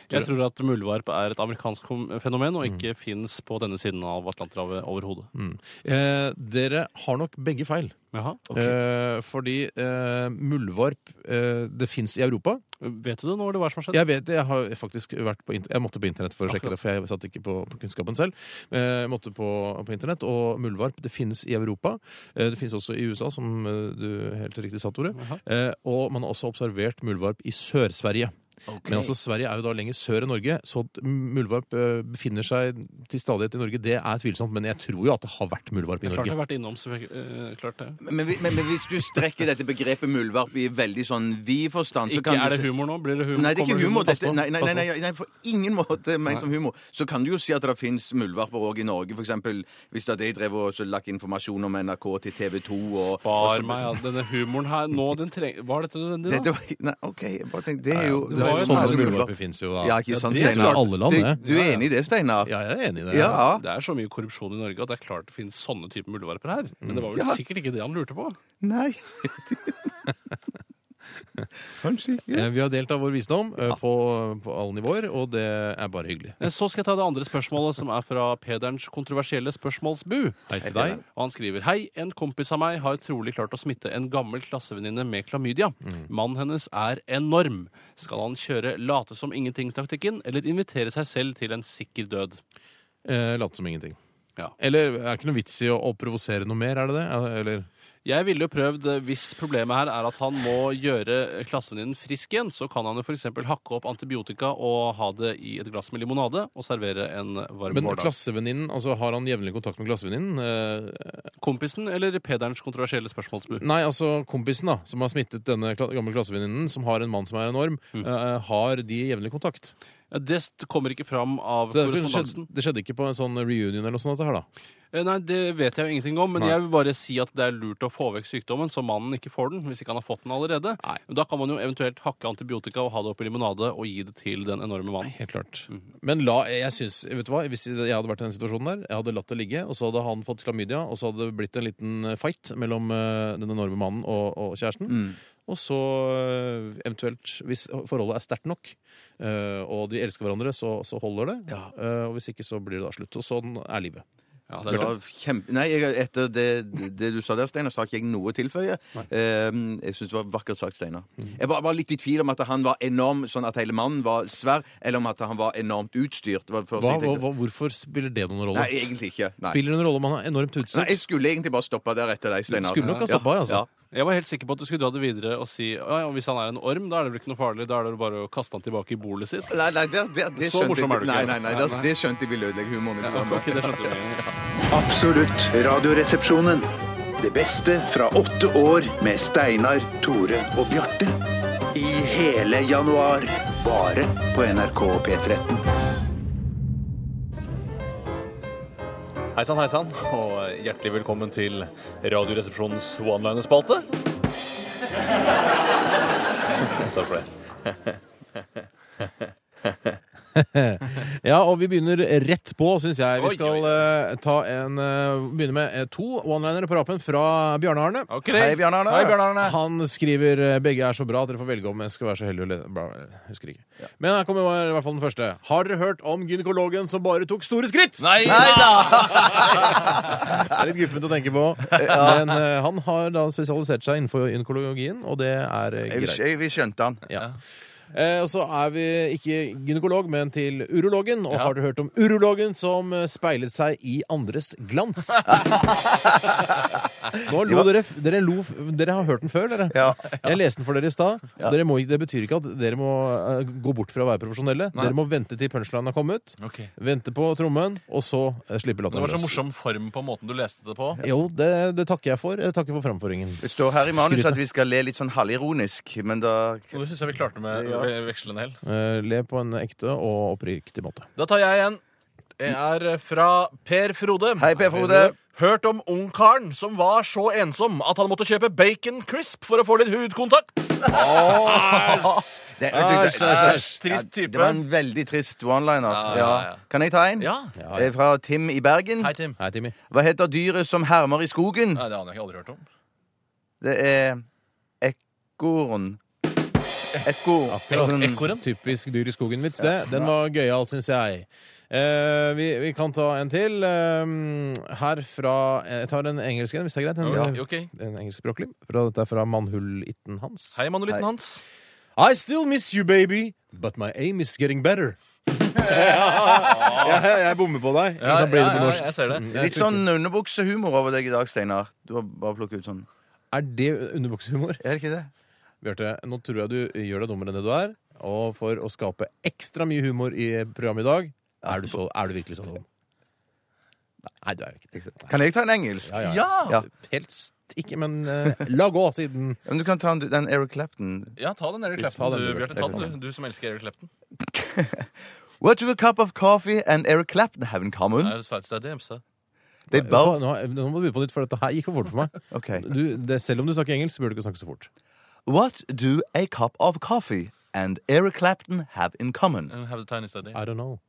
Speaker 1: Jeg tror at muldvarp er et amerikansk kom- fenomen
Speaker 2: Mm.
Speaker 1: og ikke fins på denne siden av Atlanterhavet overhodet.
Speaker 2: Eh, dere har nok begge feil.
Speaker 1: Jaha.
Speaker 2: Eh, fordi eh, muldvarp eh, Det fins i Europa.
Speaker 1: Vet du det nå, eller hva som har skjedd?
Speaker 2: Jeg vet det, jeg har faktisk vært på int- Jeg måtte på internett for å sjekke det, for jeg satt ikke på, på kunnskapen selv. Eh, Jeg måtte på, på internett, og muldvarp det finnes i Europa. Eh, Det finnes også i USA, som eh, du helt riktig sa, Tore. Eh, Og man har også observert muldvarp i Sør-Sverige. Men altså, Sverige er jo da lenger sør enn Norge, så at muldvarp eh, befinner seg til stadighet i Norge, det er tvilsomt. Men jeg tror jo at det har vært muldvarp i
Speaker 1: Klart jeg
Speaker 2: Norge.
Speaker 1: har vært innom. så jeg- eh, Klart det.
Speaker 5: Men, vi- men, men hvis du strekker dette begrepet muldvarp i veldig sånn vid forstand så
Speaker 1: Ikke
Speaker 5: kan
Speaker 1: er
Speaker 5: du
Speaker 1: det
Speaker 5: si-
Speaker 1: humor nå? Blir det humor?
Speaker 5: Nei, det er
Speaker 1: Kommer
Speaker 5: ikke humor.
Speaker 1: Pass
Speaker 5: Dette,
Speaker 1: på,
Speaker 5: nei, nei, nei,
Speaker 1: pass på.
Speaker 5: nei, nei, på ingen måte ment som humor. Så kan du jo si at det fins muldvarper òg i Norge, f.eks. Hvis da de drev og så lakk informasjon om NRK til TV 2 og og
Speaker 1: Spar
Speaker 5: så-
Speaker 1: meg ja, denne humoren her nå. Den treng... Var dette nødvendig, da?
Speaker 5: Dette var, nei, OK, jeg bare tenkte Det er jo
Speaker 2: Det var jo sånne
Speaker 5: alle
Speaker 2: muldvarper fins sånn jo, da.
Speaker 5: Ja, ikke sant,
Speaker 2: det er
Speaker 5: Steinar?
Speaker 2: alle land, det.
Speaker 5: Du, du er enig i det, Steinar?
Speaker 2: Ja, jeg er enig i det.
Speaker 5: Ja.
Speaker 1: Det er så mye korrupsjon i Norge at det er klart det finnes sånne typer muldvarper her. Men det var vel
Speaker 5: Ja.
Speaker 1: sikkert ikke det han lurte på.
Speaker 5: Nei. Kanskje ikke.
Speaker 2: Eh, Vi har delt av vår visdom eh, på, på alle nivåer, og det er bare hyggelig.
Speaker 1: Eh, Så skal jeg ta det andre spørsmålet, som er fra Pederens kontroversielle spørsmålsbu.
Speaker 2: Hei til deg.
Speaker 1: Og han skriver Hei, en kompis av meg har trolig klart å smitte en gammel klassevenninne med klamydia.
Speaker 2: Mm.
Speaker 1: Mannen hennes er enorm. Skal han kjøre late som ingenting-taktikken, eller invitere seg selv til en sikker død?
Speaker 2: Eh, Late som ingenting.
Speaker 1: Ja.
Speaker 2: Eller er det ikke noe vits i å, å provosere noe mer, er det det? Eller,
Speaker 1: Jeg ville jo prøvd, eh, hvis problemet her er at han må gjøre klassevenninnen frisk igjen, så kan han jo f.eks. hakke opp antibiotika og ha det i et glass med limonade og servere en varm
Speaker 2: Men
Speaker 1: vårdag.
Speaker 2: klassevenninnen, altså har han jevnlig kontakt med klassevenninnen? Eh,
Speaker 1: Kompisen eller pederens kontroversielle spørsmålsbu?
Speaker 2: Nei, altså kompisen da, som har smittet denne kla gamle klassevenninnen, som har en mann som er enorm,
Speaker 1: Mm.
Speaker 2: eh, har de jevnlig kontakt?
Speaker 1: Ja, Det st- kommer ikke fram av
Speaker 2: Så det, skjedde,
Speaker 1: korrespondansen.
Speaker 2: det skjedde ikke på en sånn reunion eller noe sånt dette her da?
Speaker 1: Eh, Nei, det vet jeg jo ingenting om, men
Speaker 2: Nei.
Speaker 1: jeg vil bare si at det er lurt å få vekk sykdommen, så mannen ikke får den, hvis ikke han har fått den allerede.
Speaker 2: Nei.
Speaker 1: Da kan man jo eventuelt hakke antibiotika og ha det oppi limonade og gi det til den enorme mannen. Mm.
Speaker 2: Helt klart. Men la, jeg synes, vet du hva, hvis jeg hadde vært i den situasjonen der, jeg hadde latt det ligge, og så hadde han fått klamydia, og så hadde det blitt en liten fight mellom eh, den enorme mannen og, og kjæresten.
Speaker 1: Mm.
Speaker 2: Og så eh, eventuelt, hvis forholdet er sterkt nok, eh, og de elsker hverandre, så, så holder det. Eh, og hvis ikke, så blir det da slutt. Og sånn er livet.
Speaker 1: Ja, det
Speaker 5: Det
Speaker 1: er sant.
Speaker 5: var kjempe... Nei, jeg, etter det, det du sa der, Steinar, så har ikke jeg noe å tilføye. Ehm, jeg syns det var vakkert sagt, Steinar.
Speaker 1: Mm.
Speaker 5: Jeg var, var litt i tvil om at han var enorm, sånn at hele mannen var svær, eller om at han var enormt utstyrt. Det var det første
Speaker 2: Hva,
Speaker 5: jeg
Speaker 2: hva,
Speaker 5: tenkte.
Speaker 2: hva, hvorfor spiller det noen rolle?
Speaker 5: Nei, egentlig ikke. Nei.
Speaker 2: Spiller det noen rolle om han er enormt
Speaker 5: Nei,
Speaker 2: utstyrt?
Speaker 5: jeg skulle egentlig bare stoppa der etter deg, Steinar.
Speaker 2: Skulle nok ha stoppet, altså.
Speaker 1: Jeg var helt sikker på at du skulle dra det videre og si ja, ja, hvis han er en orm, da er det vel ikke noe farlig, da er det bare å kaste han tilbake i bolet sitt.
Speaker 5: Nei, nei, det, det, det
Speaker 1: Så
Speaker 5: skjønte
Speaker 1: morsom er
Speaker 5: jeg
Speaker 1: du ikke.
Speaker 5: Nei, nei, nei, det,
Speaker 1: Nei, nei.
Speaker 5: det skjønte jeg ville ødelegge humoren. i programmet.
Speaker 1: Ok, det skjønte jeg.
Speaker 4: Absolutt radioresepsjonen. Det beste fra åtte år med Steinar, Tore og Bjarte. I hele januar. Bare på NRK P13.
Speaker 11: Hei sann, hei sann, og hjertelig velkommen til Radioresepsjonens one-liner-spalte. Takk for det.
Speaker 2: Ja, og vi begynner rett på, syns jeg. Vi
Speaker 1: Oi,
Speaker 2: skal eh, ta en, eh, begynne med eh, to one-linere på rappen fra Bjarne Arne.
Speaker 1: Ok.
Speaker 5: Hei, Bjarne Arne.
Speaker 2: Han skriver eh, begge er så bra at dere får velge om jeg skal være så heldig å lese bla, bla, bla, Husker ikke. Men her kommer i hvert fall den første. Har dere hørt om gynekologen som bare tok store skritt?
Speaker 1: Nei,
Speaker 2: Det er litt guffent å tenke på. Men eh, han har da spesialisert seg innenfor gynekologien, og det er eh,
Speaker 5: Jeg,
Speaker 2: greit.
Speaker 5: jeg, vi skjønte han.
Speaker 2: Ja. Eh, og så er vi ikke gynekolog, men til urologen. Og har du hørt om urologen som eh, speilet seg i andres glans? Nå lo dere, f- dere, lo, f- dere har hørt den før, dere.
Speaker 5: Ja.
Speaker 2: Jeg leste den for dere i stad. og Dere må ikke- Det betyr ikke at dere må eh, gå bort fra å være profesjonelle. Dere må vente til punchlinen har kommet,
Speaker 11: Ok.
Speaker 2: vente på trommen, og så eh, slippe
Speaker 11: Det
Speaker 2: latteren
Speaker 11: var så morsom form på måten du leste det på.
Speaker 2: Jo, det, det takker jeg for. Jeg takker for framføringen.
Speaker 5: Det står her i manus
Speaker 2: Skrytet.
Speaker 5: at vi skal le litt sånn halvironisk, men da
Speaker 11: Og det syns jeg vi klarte med ve- vekslende hell.
Speaker 2: Eh, le på en ekte og oppriktig måte.
Speaker 11: Da tar jeg en. Det er fra Per Frode.
Speaker 5: Hei, Per Frode.
Speaker 11: Hørt om ungkaren som var så ensom at han måtte kjøpe bacon crisp for å få litt hudkontakt.
Speaker 5: Det, vet du, det-
Speaker 11: æsj, æsj. Trist
Speaker 5: Ja,
Speaker 11: type.
Speaker 5: Det var en veldig trist one-liner.
Speaker 11: Ja,
Speaker 5: Ja,
Speaker 11: ja, ja.
Speaker 5: Kan jeg ta en?
Speaker 11: Ja.
Speaker 2: Ja,
Speaker 5: Eh,
Speaker 2: ja.
Speaker 5: Fra Tim i Bergen.
Speaker 11: Hei, Tim.
Speaker 2: Hei, Timmy.
Speaker 5: Hva heter dyret som hermer i skogen?
Speaker 11: Nei, det har jeg aldri hørt om.
Speaker 5: Det er ekorn. Ekko...
Speaker 11: Ekorn.
Speaker 2: Typisk dyr i skogen-vits, det. Den var gøyal, syns jeg. Eh, vi, vi kan ta en til. Eh, her fra Jeg tar en engelsk en, hvis det er greit. En,
Speaker 11: Ja. Ok.
Speaker 2: en engelskspråklig. Fra- Dette er fra mannhullitten hans.
Speaker 11: Hei, manolitten hans.
Speaker 2: I still miss you, baby, but my aim is getting <laughs> better. jeg, jeg bommer på deg. Ikke sant? Blir det på norsk?
Speaker 11: jeg ser det.
Speaker 5: Litt sånn underbuksehumor over deg i dag, Steinar. Du har bare plukket ut sånn.
Speaker 2: Er det underbuksehumor?
Speaker 5: Er det ikke det?
Speaker 2: Bjarte, nå tror jeg du gjør deg dummere enn det du er. Og for å skape ekstra mye humor i programmet i dag, er du, så, er du virkelig så dum? Nei, du er jo ikke det.
Speaker 5: Kan jeg ta en engelsk?
Speaker 2: Ja, ja,
Speaker 11: Ja!
Speaker 5: Ja.
Speaker 2: Helst ikke, men eh, la gå, siden
Speaker 5: Men du kan ta en- den Eric Clapton.
Speaker 11: Ja, ta den Eric
Speaker 2: Ta
Speaker 11: Clapton,
Speaker 2: den,
Speaker 11: du,
Speaker 2: du,
Speaker 11: Bjarte. Ta
Speaker 2: Bjarte.
Speaker 11: den, du, du som elsker Eric Clapton.
Speaker 5: What do a cup of coffee and Eric Clapton have in common?
Speaker 11: Er det Side Step DMC?
Speaker 5: They
Speaker 2: Vet du hva,
Speaker 5: both...
Speaker 2: nå, nå må du begynne på nytt, for dette her gikk for fort
Speaker 12: <laughs>
Speaker 2: for meg.
Speaker 5: Okay.
Speaker 2: Du, det, selv om du snakker engelsk, så burde du ikke snakke så fort.
Speaker 5: What do a cup of coffee and Eric Clapton have in common?
Speaker 11: And Have the tiny study.
Speaker 2: I don't know.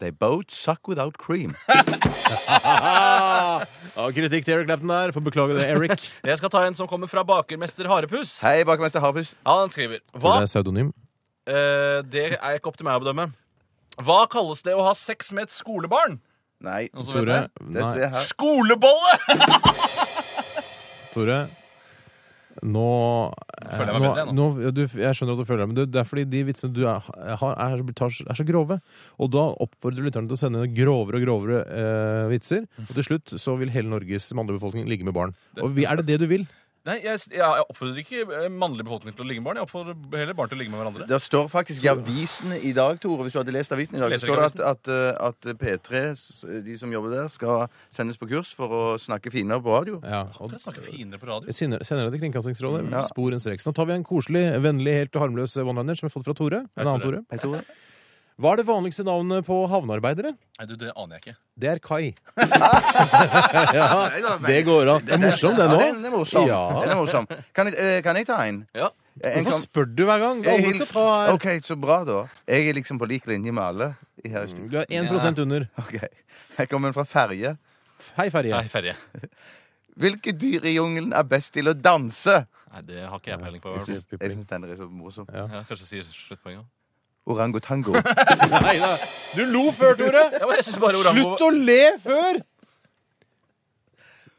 Speaker 5: They both suck without
Speaker 11: <laughs>
Speaker 5: cream.
Speaker 2: Ah, <laughs> ja, kritikk til Eric Clapton der. Får beklage det, Eric.
Speaker 11: <laughs> Jeg skal ta en som kommer fra bakermester Harepus.
Speaker 5: Hei, bakmester Harpus.
Speaker 11: Han skriver Hva?
Speaker 2: Det er pseudonym.
Speaker 11: Eh, det er ikke opp til meg å bedømme. Hva kalles det å ha sex med et skolebarn?
Speaker 5: Nei,
Speaker 11: Noen som vet
Speaker 2: Tore.
Speaker 11: det?
Speaker 5: dette
Speaker 2: Nei,
Speaker 5: her
Speaker 11: Skolebolle!
Speaker 2: Tore. Nå,
Speaker 13: Føler jeg meg
Speaker 2: nå,
Speaker 13: bedre, jeg,
Speaker 2: nå du, Jeg skjønner at du føler deg men det, det er fordi de vitsene du er- har, er, så- tar, er så grove. Og da oppfordrer du lytterne til å sende grovere og grovere eh, vitser. Og til slutt så vil hele Norges mannlige befolkning ligge med barn. Og vi, er det det du vil?
Speaker 12: Nei, jeg, jeg oppfordrer ikke eh, mannlig befolkning til å ligge med barn. Jeg oppfordrer heller barn til å ligge med hverandre.
Speaker 5: Det står faktisk i avisen i dag, Tore, hvis du hadde lest avisen i dag, så
Speaker 12: Leser
Speaker 5: står det
Speaker 12: ikke
Speaker 5: at, at, at eh, P3, s- de som jobber der, skal sendes på kurs for å snakke finere på radio.
Speaker 2: Ja, og,
Speaker 12: Snakke finere på radio.
Speaker 2: Vi sender, sender det til Kringkastingsrådet.
Speaker 5: Ja.
Speaker 2: Spor en streks. Nå tar vi en koselig, vennlig, helt harmløs one-liner som vi har fått fra Tore. En annen Tore.
Speaker 5: Hei, Tore.
Speaker 2: Hva er det vanligste navnet på havnearbeidere?
Speaker 12: Nei, du, det aner jeg ikke.
Speaker 2: Det er
Speaker 5: <laughs>
Speaker 2: Kai. ja, det går an. Det er morsom, det nå.
Speaker 5: Ja, den er morsom.
Speaker 2: Ja.
Speaker 5: Den er morsom. Kan, jeg, eh, kan jeg ta en? Eh,
Speaker 12: Ja.
Speaker 5: En
Speaker 2: Hvorfor
Speaker 5: kan-
Speaker 2: spør du hver gang? Alle skal ta her.
Speaker 5: OK, så bra, da. Jeg er liksom på lik linje med alle. i Her. i
Speaker 12: Mm.
Speaker 5: studio.
Speaker 2: Du er 1 under.
Speaker 5: OK. Her kommer en fra ferje.
Speaker 2: Hei, Ferje.
Speaker 12: Nei, ferje.
Speaker 5: Hvilke dyr i jungelen er best til å danse?
Speaker 12: Nei, det har ikke jeg peiling på. i hvert fall.
Speaker 5: Jeg syns den er så morsom.
Speaker 12: Ja, kanskje sier sluttpoenget.
Speaker 5: Orangotango.
Speaker 2: Nei da. Du lo før, Tore.
Speaker 12: Ja, men jeg synes bare orango...
Speaker 2: Slutt å le før!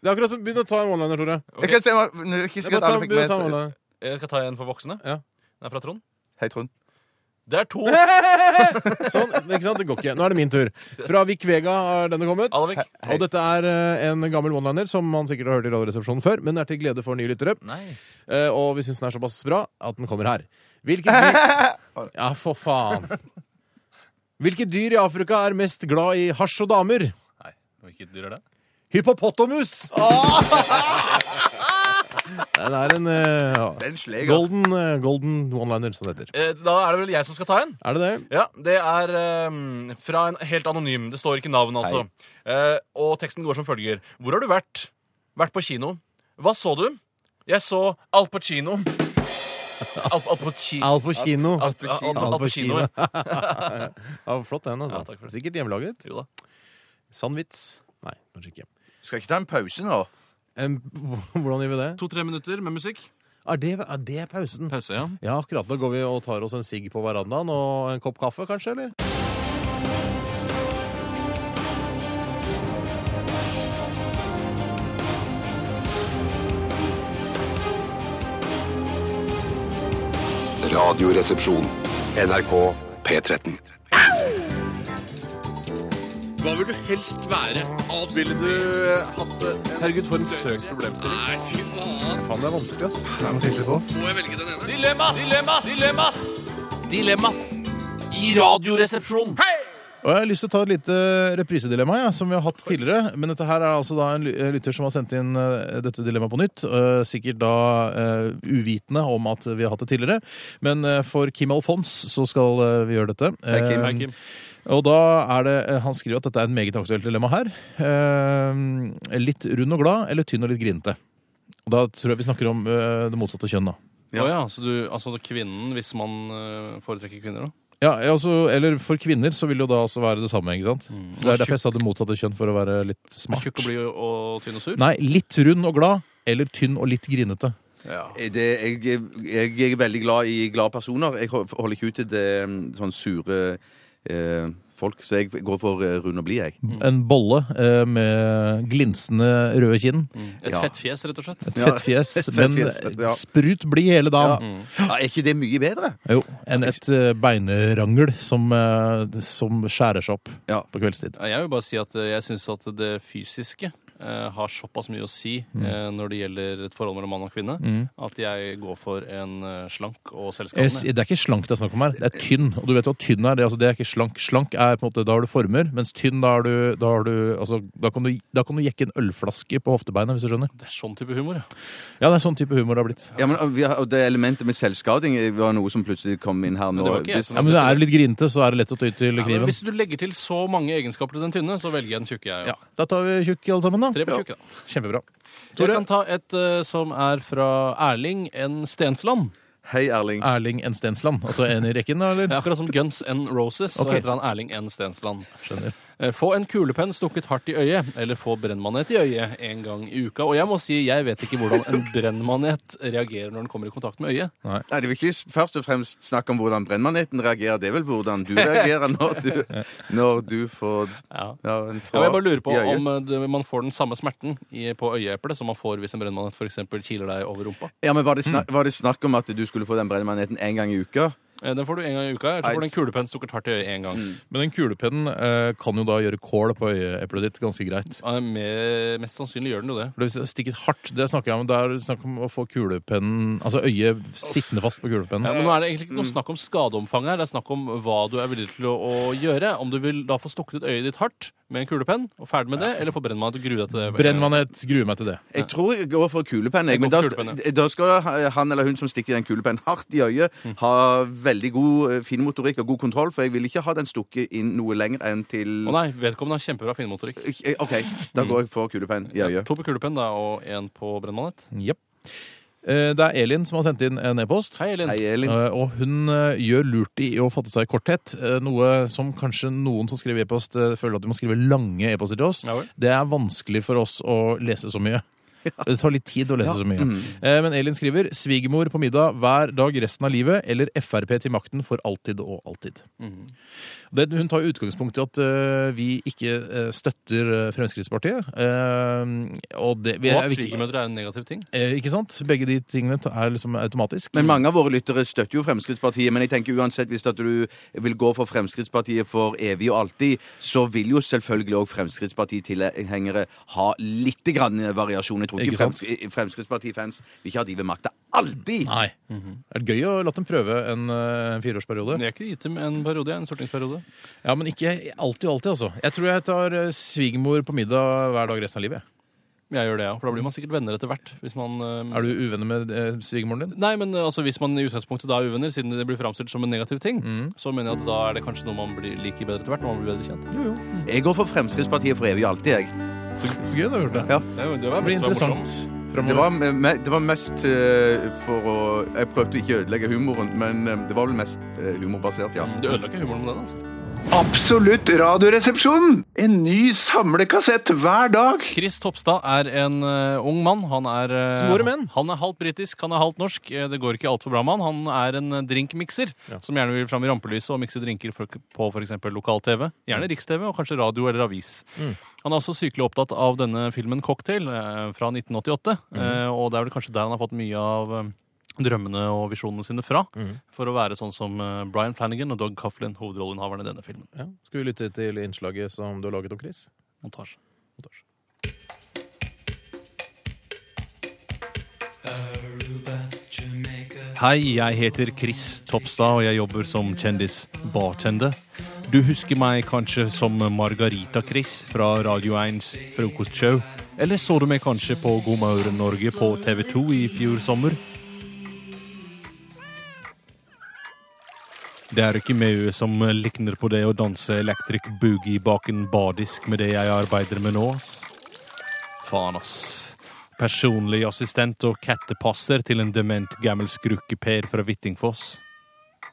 Speaker 2: Det er akkurat som Begynn å ta en one-liner, Tore.
Speaker 5: Jeg kan se, nå er det ikke
Speaker 2: Bare
Speaker 5: sikkert
Speaker 2: ta,
Speaker 5: alle fikk
Speaker 2: begynn å
Speaker 5: med
Speaker 2: ta en
Speaker 5: seg
Speaker 2: one-liner.
Speaker 12: Jeg skal ta en for voksne.
Speaker 2: Ja.
Speaker 12: Den er fra Trond.
Speaker 5: Hei, Trond.
Speaker 12: Det er to.
Speaker 2: Sånn, ikke sant? Det går ikke. Nå er det min tur. Fra Vik Vega har denne kommet.
Speaker 12: Alvik.
Speaker 2: Og dette er eh, en gammel one-liner som man sikkert har hørt i Radioresepsjonen før, men er til glede for nye lyttere.
Speaker 12: Nei.
Speaker 2: Eh, Og vi syns den er såpass bra at den kommer her. Hvilket dyr
Speaker 12: <laughs>
Speaker 2: Ja, for faen. Hvilke dyr i Afrika er mest glad i hasj og damer?
Speaker 12: Nei, Hvilket dyr er det? <laughs> Ah!
Speaker 2: Hypopotamus! Den er en eh, ja.
Speaker 5: Den sleg, altså.
Speaker 2: golden, eh, golden one-liner, som det heter.
Speaker 12: Eh, Da er det vel jeg som skal ta en.
Speaker 2: Er det det?
Speaker 12: Ja, det er ehm, fra en helt anonym. Det står ikke navn, altså. Eh, og teksten går som følger. Hvor har du vært? Vært på kino. Hva så du? Jeg så Al
Speaker 2: <laughs>
Speaker 12: Pacino. Al, Al Pacino.
Speaker 2: Al på kino.
Speaker 12: Al, Al, Al, Al Pacino. ja.
Speaker 2: <laughs> ja, flott den, altså.
Speaker 12: Ja, takk for det.
Speaker 2: Sikkert hjemmelaget.
Speaker 12: Jo da.
Speaker 2: Sann vits. Nei, kanskje ikke.
Speaker 5: Skal ikke ta en pause nå?
Speaker 2: Em, <laughs> hvordan gjør vi det?
Speaker 12: To-tre minutter med musikk.
Speaker 2: Er det, er det pausen?
Speaker 12: Pause, ja.
Speaker 2: Ja, akkurat da går vi og tar oss en sigg på verandaen og en kopp kaffe, kanskje, eller?
Speaker 7: Radioresepsjon. NRK P13.
Speaker 1: Hva vil du helst være? Avspille du hatt det? Herregud, for en søk problemstilling. Nei, fy faen.
Speaker 2: Faen, det er vanskelig, ass.
Speaker 1: Må jeg velge den ene? Dilemmas! Dilemmas! Dilemmas! Dilemmas i Radioresepsjonen. Hei!
Speaker 2: Og Jeg har lyst til å ta et lite reprisedilemma ja, som vi har hatt tidligere. Men dette her er altså da en ly- lytter som har sendt inn eh, dette dilemmaet på nytt. eh, Sikkert da eh, uvitende om at vi har hatt det tidligere. Men eh, for Kim Alfons så skal eh, vi gjøre dette.
Speaker 5: Hei, Kim. Hei,
Speaker 2: Eh, Og da er det, eh, Han skriver at dette er et meget aktuelt dilemma her. Eh, Litt rund og glad eller tynn og litt grinete? Og Da tror jeg vi snakker om eh, det motsatte kjønn, da.
Speaker 1: Å ja, så du, altså kvinnen, hvis man eh, foretrekker kvinner, da?
Speaker 2: Ja, altså, eller For kvinner så vil det jo da også være det samme. ikke sant?
Speaker 12: Mm.
Speaker 2: Det er derfor jeg sa det motsatte kjønn, for å være litt smart.
Speaker 1: Tjukk og blid og- og tynn og sur?
Speaker 2: Nei, litt rund og glad, eller tynn og litt grinete.
Speaker 1: Ja.
Speaker 5: Eh, Det, jeg, jeg, jeg er veldig glad i glade personer. Jeg ho- holder ikke ut til det mm, sånn sure eh, folk, så jeg går for eh, rund og blid, jeg.
Speaker 1: Mm.
Speaker 2: En bolle eh, med glinsende røde kinn.
Speaker 1: Mm. Et
Speaker 5: Ja.
Speaker 1: fett fjes, rett og slett.
Speaker 2: Et fett fjes,
Speaker 5: <laughs> et fett
Speaker 2: men
Speaker 5: fjes, ja.
Speaker 2: sprut blid hele dagen.
Speaker 5: Ja, er ikke det mye bedre?
Speaker 2: Jo, enn et eh, beinrangel som, eh, som skjærer seg opp
Speaker 5: Ja.
Speaker 2: på kveldstid.
Speaker 1: Ja, Jeg vil bare si at eh, jeg syns at det fysiske eh, har såpass mye å si
Speaker 2: Mm.
Speaker 1: eh, når det gjelder et forhold mellom mann og kvinne, at jeg går for en eh, slank og
Speaker 2: Jeg s-
Speaker 1: selskapende.
Speaker 2: Det er ikke slank det er snakk om her, det er tynn. Og du vet hva tynn er, det er, altså, det er ikke slank. Slank er på en måte, da har du former, mens tynn, da, har du, da, har du, altså, da, kan, du, da kan du jekke en ølflaske på hoftebeinet, hvis du skjønner.
Speaker 1: Det er sånn type humor. ja.
Speaker 2: Ja, det er sånn type humor det har blitt.
Speaker 5: Ja, men og vi har, og Det elementet med selvskading eh, var noe som plutselig kom inn her nå.
Speaker 1: det var ikke jeg
Speaker 5: Hvis-
Speaker 1: som-
Speaker 2: Ja, Men det er jo litt grinete, så er det lett å ty til
Speaker 1: Ja, men
Speaker 2: kniven.
Speaker 1: hvis du legger til så mange egenskaper til den tynne, så velger jeg den tjukke. jeg.
Speaker 2: Ja,
Speaker 1: Ja.
Speaker 2: Da tar vi tjukk alle sammen, da.
Speaker 1: Tre på tjukke, da.
Speaker 2: Kjempebra.
Speaker 1: Jeg
Speaker 2: Tore?
Speaker 1: kan ta et eh, som er fra Erling N. Stensland.
Speaker 5: Hei, Erling.
Speaker 2: Erling N. Stensland. Altså en i rekken, da,
Speaker 1: Det
Speaker 2: eller?
Speaker 1: er akkurat som Guns N' Roses, så
Speaker 2: Ok.
Speaker 1: heter han Erling N. Stensland.
Speaker 2: Skjønner.
Speaker 11: Eh, Få en kulepenn stukket hardt i øyet, eller få brennmanet i øyet en gang i uka. Og jeg må si, jeg vet ikke hvordan
Speaker 1: <laughs>
Speaker 11: en brennmanet reagerer når den kommer i kontakt med øyet.
Speaker 5: Nei. det vil ikke s- først og fremst snakke om hvordan brennmaneten reagerer. Det er vel hvordan du reagerer når du, når du får ja, en
Speaker 11: Ja,
Speaker 5: tråd
Speaker 11: og jeg bare lurer på
Speaker 5: i øyet.
Speaker 11: om eh, det, man får den samme smerten i, på øyeeplet som man får hvis en brennmanet for eksempel kiler deg over rumpa.
Speaker 5: Ja, men var det, snak, var det snakk om at du skulle få den brennmaneten én gang i uka?
Speaker 11: Eh, Den får du en gang i uka. Eller så får du en kulepenn stukket hardt i øyet en gang.
Speaker 2: Men den kulepennen eh, kan jo da gjøre kål på øyeeplet ditt ganske greit.
Speaker 11: Ja, med- Mest sannsynlig gjør den jo det.
Speaker 2: For det er stikket hardt, det snakker jeg om. Det er snakk om å få kulepennen Altså øyet sittende fast på kulepennen.
Speaker 11: Ja, men nå er det egentlig ikke noe snakk om skadeomfang her. Det er snakk om hva du er villig til å, å gjøre. Om du vil da få stukket ut øyet ditt hardt med en kulepenn, og ferdig med det, eller få brennmanet og grue deg til det.
Speaker 2: Brennmanet, gruer meg til det.
Speaker 5: Jeg tror jeg går for kulepenn. jeg, Men da,
Speaker 11: Jeg går for kulepenn,
Speaker 5: da skal ha- han eller hun som stikker den kulepennen hardt i øyet,
Speaker 11: Mm.
Speaker 5: ha veldig god eh, fin motorikk og god kontroll, for jeg vil ikke ha den stukket inn noe lenger enn til
Speaker 11: Å Mm. nei, vedkommende har kjempebra finmotorikk.
Speaker 5: Eh, OK, da går jeg for kulepenn i øyet.
Speaker 11: To på kulepenn da, og én på brennmanet.
Speaker 2: Jep. Eh, Det er Elin som har sendt inn en e-post.
Speaker 11: Hei, Elin.
Speaker 2: Eh, Og hun eh, gjør lurt i å fatte seg i korthet. eh, Noe som kanskje noen som skriver e-post, eh, føler at de må skrive lange e-poster til oss. Det er vanskelig for oss å lese så mye. Det tar litt tid å lese så mye.
Speaker 1: Mm.
Speaker 2: Eh, Men Elin skriver 'Svigermor på middag hver dag resten av livet' eller 'Frp til makten for alltid og alltid'. Det, hun tar jo utgangspunkt i at øh, vi ikke øh, støtter øh, Fremskrittspartiet. øh, og, det, vi,
Speaker 11: Og at
Speaker 2: vi-
Speaker 11: svigermødre er en negativ ting.
Speaker 2: Eh, ikke sant? Begge de tingene ta- er liksom automatisk.
Speaker 5: Men mange av våre lyttere støtter jo Fremskrittspartiet. Men jeg tenker uansett hvis at du vil gå for Fremskrittspartiet for evig og alltid, så vil jo selvfølgelig òg Fremskrittspartitilhengere ha litt grann variasjon. Jeg tror
Speaker 2: Ikke
Speaker 5: ikke,
Speaker 2: sant?
Speaker 5: Frems- Fremskrittsparti-fans vil ikke ha de ved makta alltid.
Speaker 2: Nei. Det Mhm. er gøy å la dem prøve en, øh, en fireårsperiode.
Speaker 11: Jeg kunne gitt dem en periode, en stortingsperiode.
Speaker 2: Ja, Men ikke alltid og alltid, altså. Jeg tror jeg tar øh, svigermor på middag hver dag resten av livet.
Speaker 11: Jeg gjør det, ja. For da blir man sikkert venner etter hvert. Hvis man, eh,
Speaker 2: Er du uvenner med eh, svigermoren din?
Speaker 11: Nei, men eh, altså, hvis man i utgangspunktet da er uvenner, siden det blir framstilt som en negativ ting, så mener jeg at da er det kanskje noe man blir liker bedre etter hvert, når man blir bedre kjent.
Speaker 5: Jeg går for Fremskrittspartiet for evig og alltid, jeg.
Speaker 2: Så, gøy du har gjort det.
Speaker 5: Ja.
Speaker 11: Det, var- det var
Speaker 5: Det blir
Speaker 11: mest- det var
Speaker 5: interessant
Speaker 11: morsomt.
Speaker 5: Det var, me- det var mest eh, for å Jeg prøvde ikke å ødelegge humoren, men eh, det var vel mest eh, humorbasert, ja.
Speaker 11: Du ødela ikke humoren med den, altså.
Speaker 4: Absolutt radioresepsjon! En ny samlekassett hver dag.
Speaker 11: Chris Topstad er en eh, ung mann. Han er, eh,
Speaker 4: Som våre menn.
Speaker 11: han er halvt britisk, han er halvt norsk. Eh, Det går ikke altfor bra med han. Han er en eh, drinkmikser som gjerne vil fram i rampelyset og mikse drinker for, på f.eks.
Speaker 4: Mm.
Speaker 11: lokal-TV. Gjerne Riks-TV og kanskje radio eller avis.
Speaker 2: Mm.
Speaker 11: Han er også sykelig opptatt av denne filmen 'Cocktail' eh, fra 1988.
Speaker 4: Mm.
Speaker 11: eh, Og det er vel kanskje der han har fått mye av eh, drømmene og visjonene sine fra.
Speaker 4: Mm.
Speaker 2: Mhm.
Speaker 11: For å være sånn som eh, Brian Flanagan og Doug Coughlin, hovedrollenhaverne i denne filmen.
Speaker 2: Ja. Skal vi lytte til innslaget som du har laget om Chris?
Speaker 11: Montasje. Hei, jeg heter Chris Topstad, og jeg jobber som kjendisbartender. Du husker meg kanskje som Margarita-Chris fra Radio 1s frokostshow. Eller så du meg kanskje på God morgen Norge på TV 2 i fjor sommer? Det er ikke mye som likner på det å danse electric boogie bak en bardisk med det jeg arbeider med nå, ass. Faen, ass. Personlig assistent og kattepasser til en dement gammel skrukkeper fra Hvittingfoss.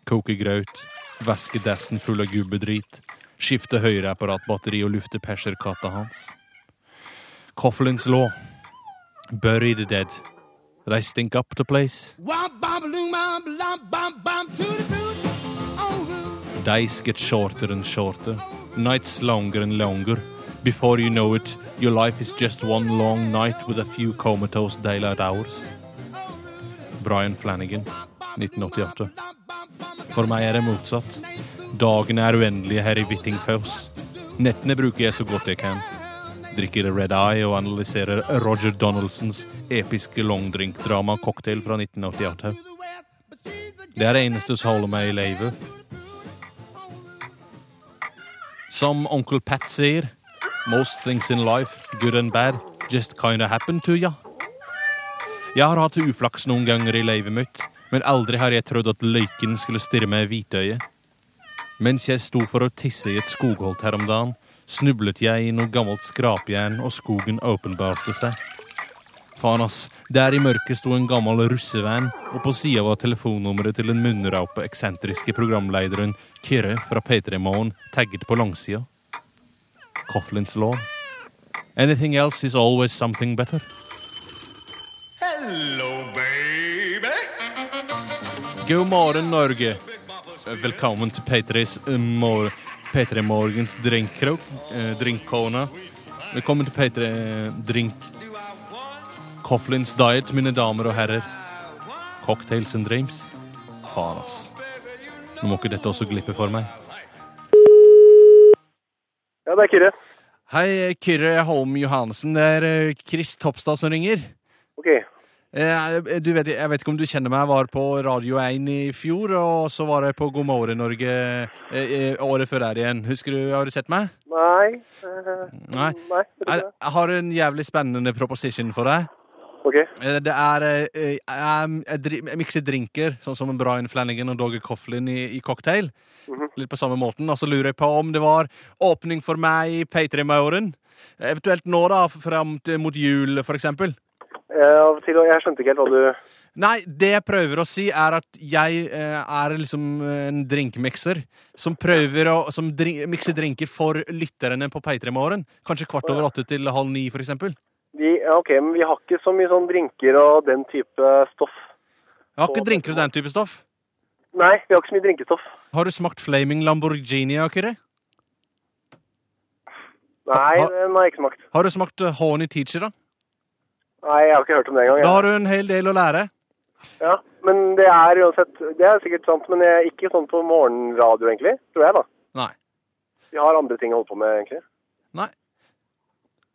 Speaker 11: Koke grøt, vaske dassen full av gubbedrit, skifte høyreapparatbatteri og lufte perserkatta hans. Coughlins law. Bury the dead. They stink up the place. Days get shorter and shorter, nights longer and longer. Before you know it, your life is just one long night with a few comatose daylight hours. Brian Flanagan, 1988. For meg er det motsatt. Dagene er uendelige her i Hvittingfoss. Nettene bruker jeg så godt jeg kan. Drikker Red Eye og analyserer Roger Donaldsons episke longdrinkdrama 'Cocktail' fra 1988. Det er det eneste som holder meg i live. Som onkel Pat sier, most things in life, good and bad, just kinda happen to ya. Jeg har hatt uflaks noen ganger i livet mitt, men aldri har jeg trodd at løyken skulle stirre meg i hvitøyet. Mens jeg sto for å tisse i et skogholt her om dagen, snublet jeg i noe gammelt skrapjern, og skogen åpenbarte seg. Faen, ass. Der i mørket sto en gammel russevenn, og på sida var telefonnummeret til den munnraupe, eksentriske programlederen Kyrre fra P3 Morgen tagget på langsida. Coughlin's law. Anything else is always something better.
Speaker 9: Hello, baby.
Speaker 11: God morgen, Norge. Velkommen til P3s eh, mor P3 Morgens drinkkrok. eh, Drinkkorner. Velkommen til P3 eh, Drink... Coughlins Diet, mine damer og herrer. Cocktails and dreams. Faen, ass. Nå må ikke dette også glippe for meg.
Speaker 14: Ja, det er Kyrre.
Speaker 11: Hei, Kyrre Holm Johansen. Det er eh, Chris Topstad som ringer.
Speaker 14: Ok.
Speaker 11: Eh, Du vet, jeg vet ikke om du kjenner meg. Jeg var på Radio 1 i fjor, og så var jeg på God morgen Norge eh, eh, året før der igjen. Husker du, Har du sett meg?
Speaker 14: Nei. eh,
Speaker 11: Nei.
Speaker 14: Nei.
Speaker 11: Jeg jeg har en jævlig spennende proposition for deg.
Speaker 14: Ok.
Speaker 11: Eh, Det er eh, eh, Jeg, jeg, dri- jeg mikser drinker, sånn som Brian Flanagan og Doggy Coughlin i, i cocktail. Litt på samme måten. Og så lurer jeg på om det var åpning for meg i Patrion-morgen. Eventuelt nå, da, fram til mot jul, for eksempel.
Speaker 14: eh, Av og til, og jeg skjønte ikke helt hva du
Speaker 11: Nei, det jeg prøver å si, er at jeg eh, er liksom en drinkmikser som prøver å som drink, mikse drinker for lytterne på P3-morgen. Kanskje kvart over åtte til halv ni, for eksempel.
Speaker 14: vi, ja, OK, men vi har ikke så mye sånn drinker og den type stoff.
Speaker 11: Jeg har ikke drinker og den type stoff.
Speaker 14: Nei, vi har ikke så mye drinkestoff.
Speaker 11: Har du smakt Flaming Lamborghini, Akure?
Speaker 14: Nei, den har jeg ikke smakt.
Speaker 11: Har du smakt eh, Horny Teacher, da?
Speaker 14: Nei, jeg har ikke hørt om det engang. jeg.
Speaker 11: Da har du en hel del å lære.
Speaker 14: Ja, men det er uansett Det er sikkert sant, men jeg, ikke sånn på morgenradio, egentlig. Tror jeg, da.
Speaker 11: Nei.
Speaker 14: Vi har andre ting å holde på med, egentlig.
Speaker 11: Nei.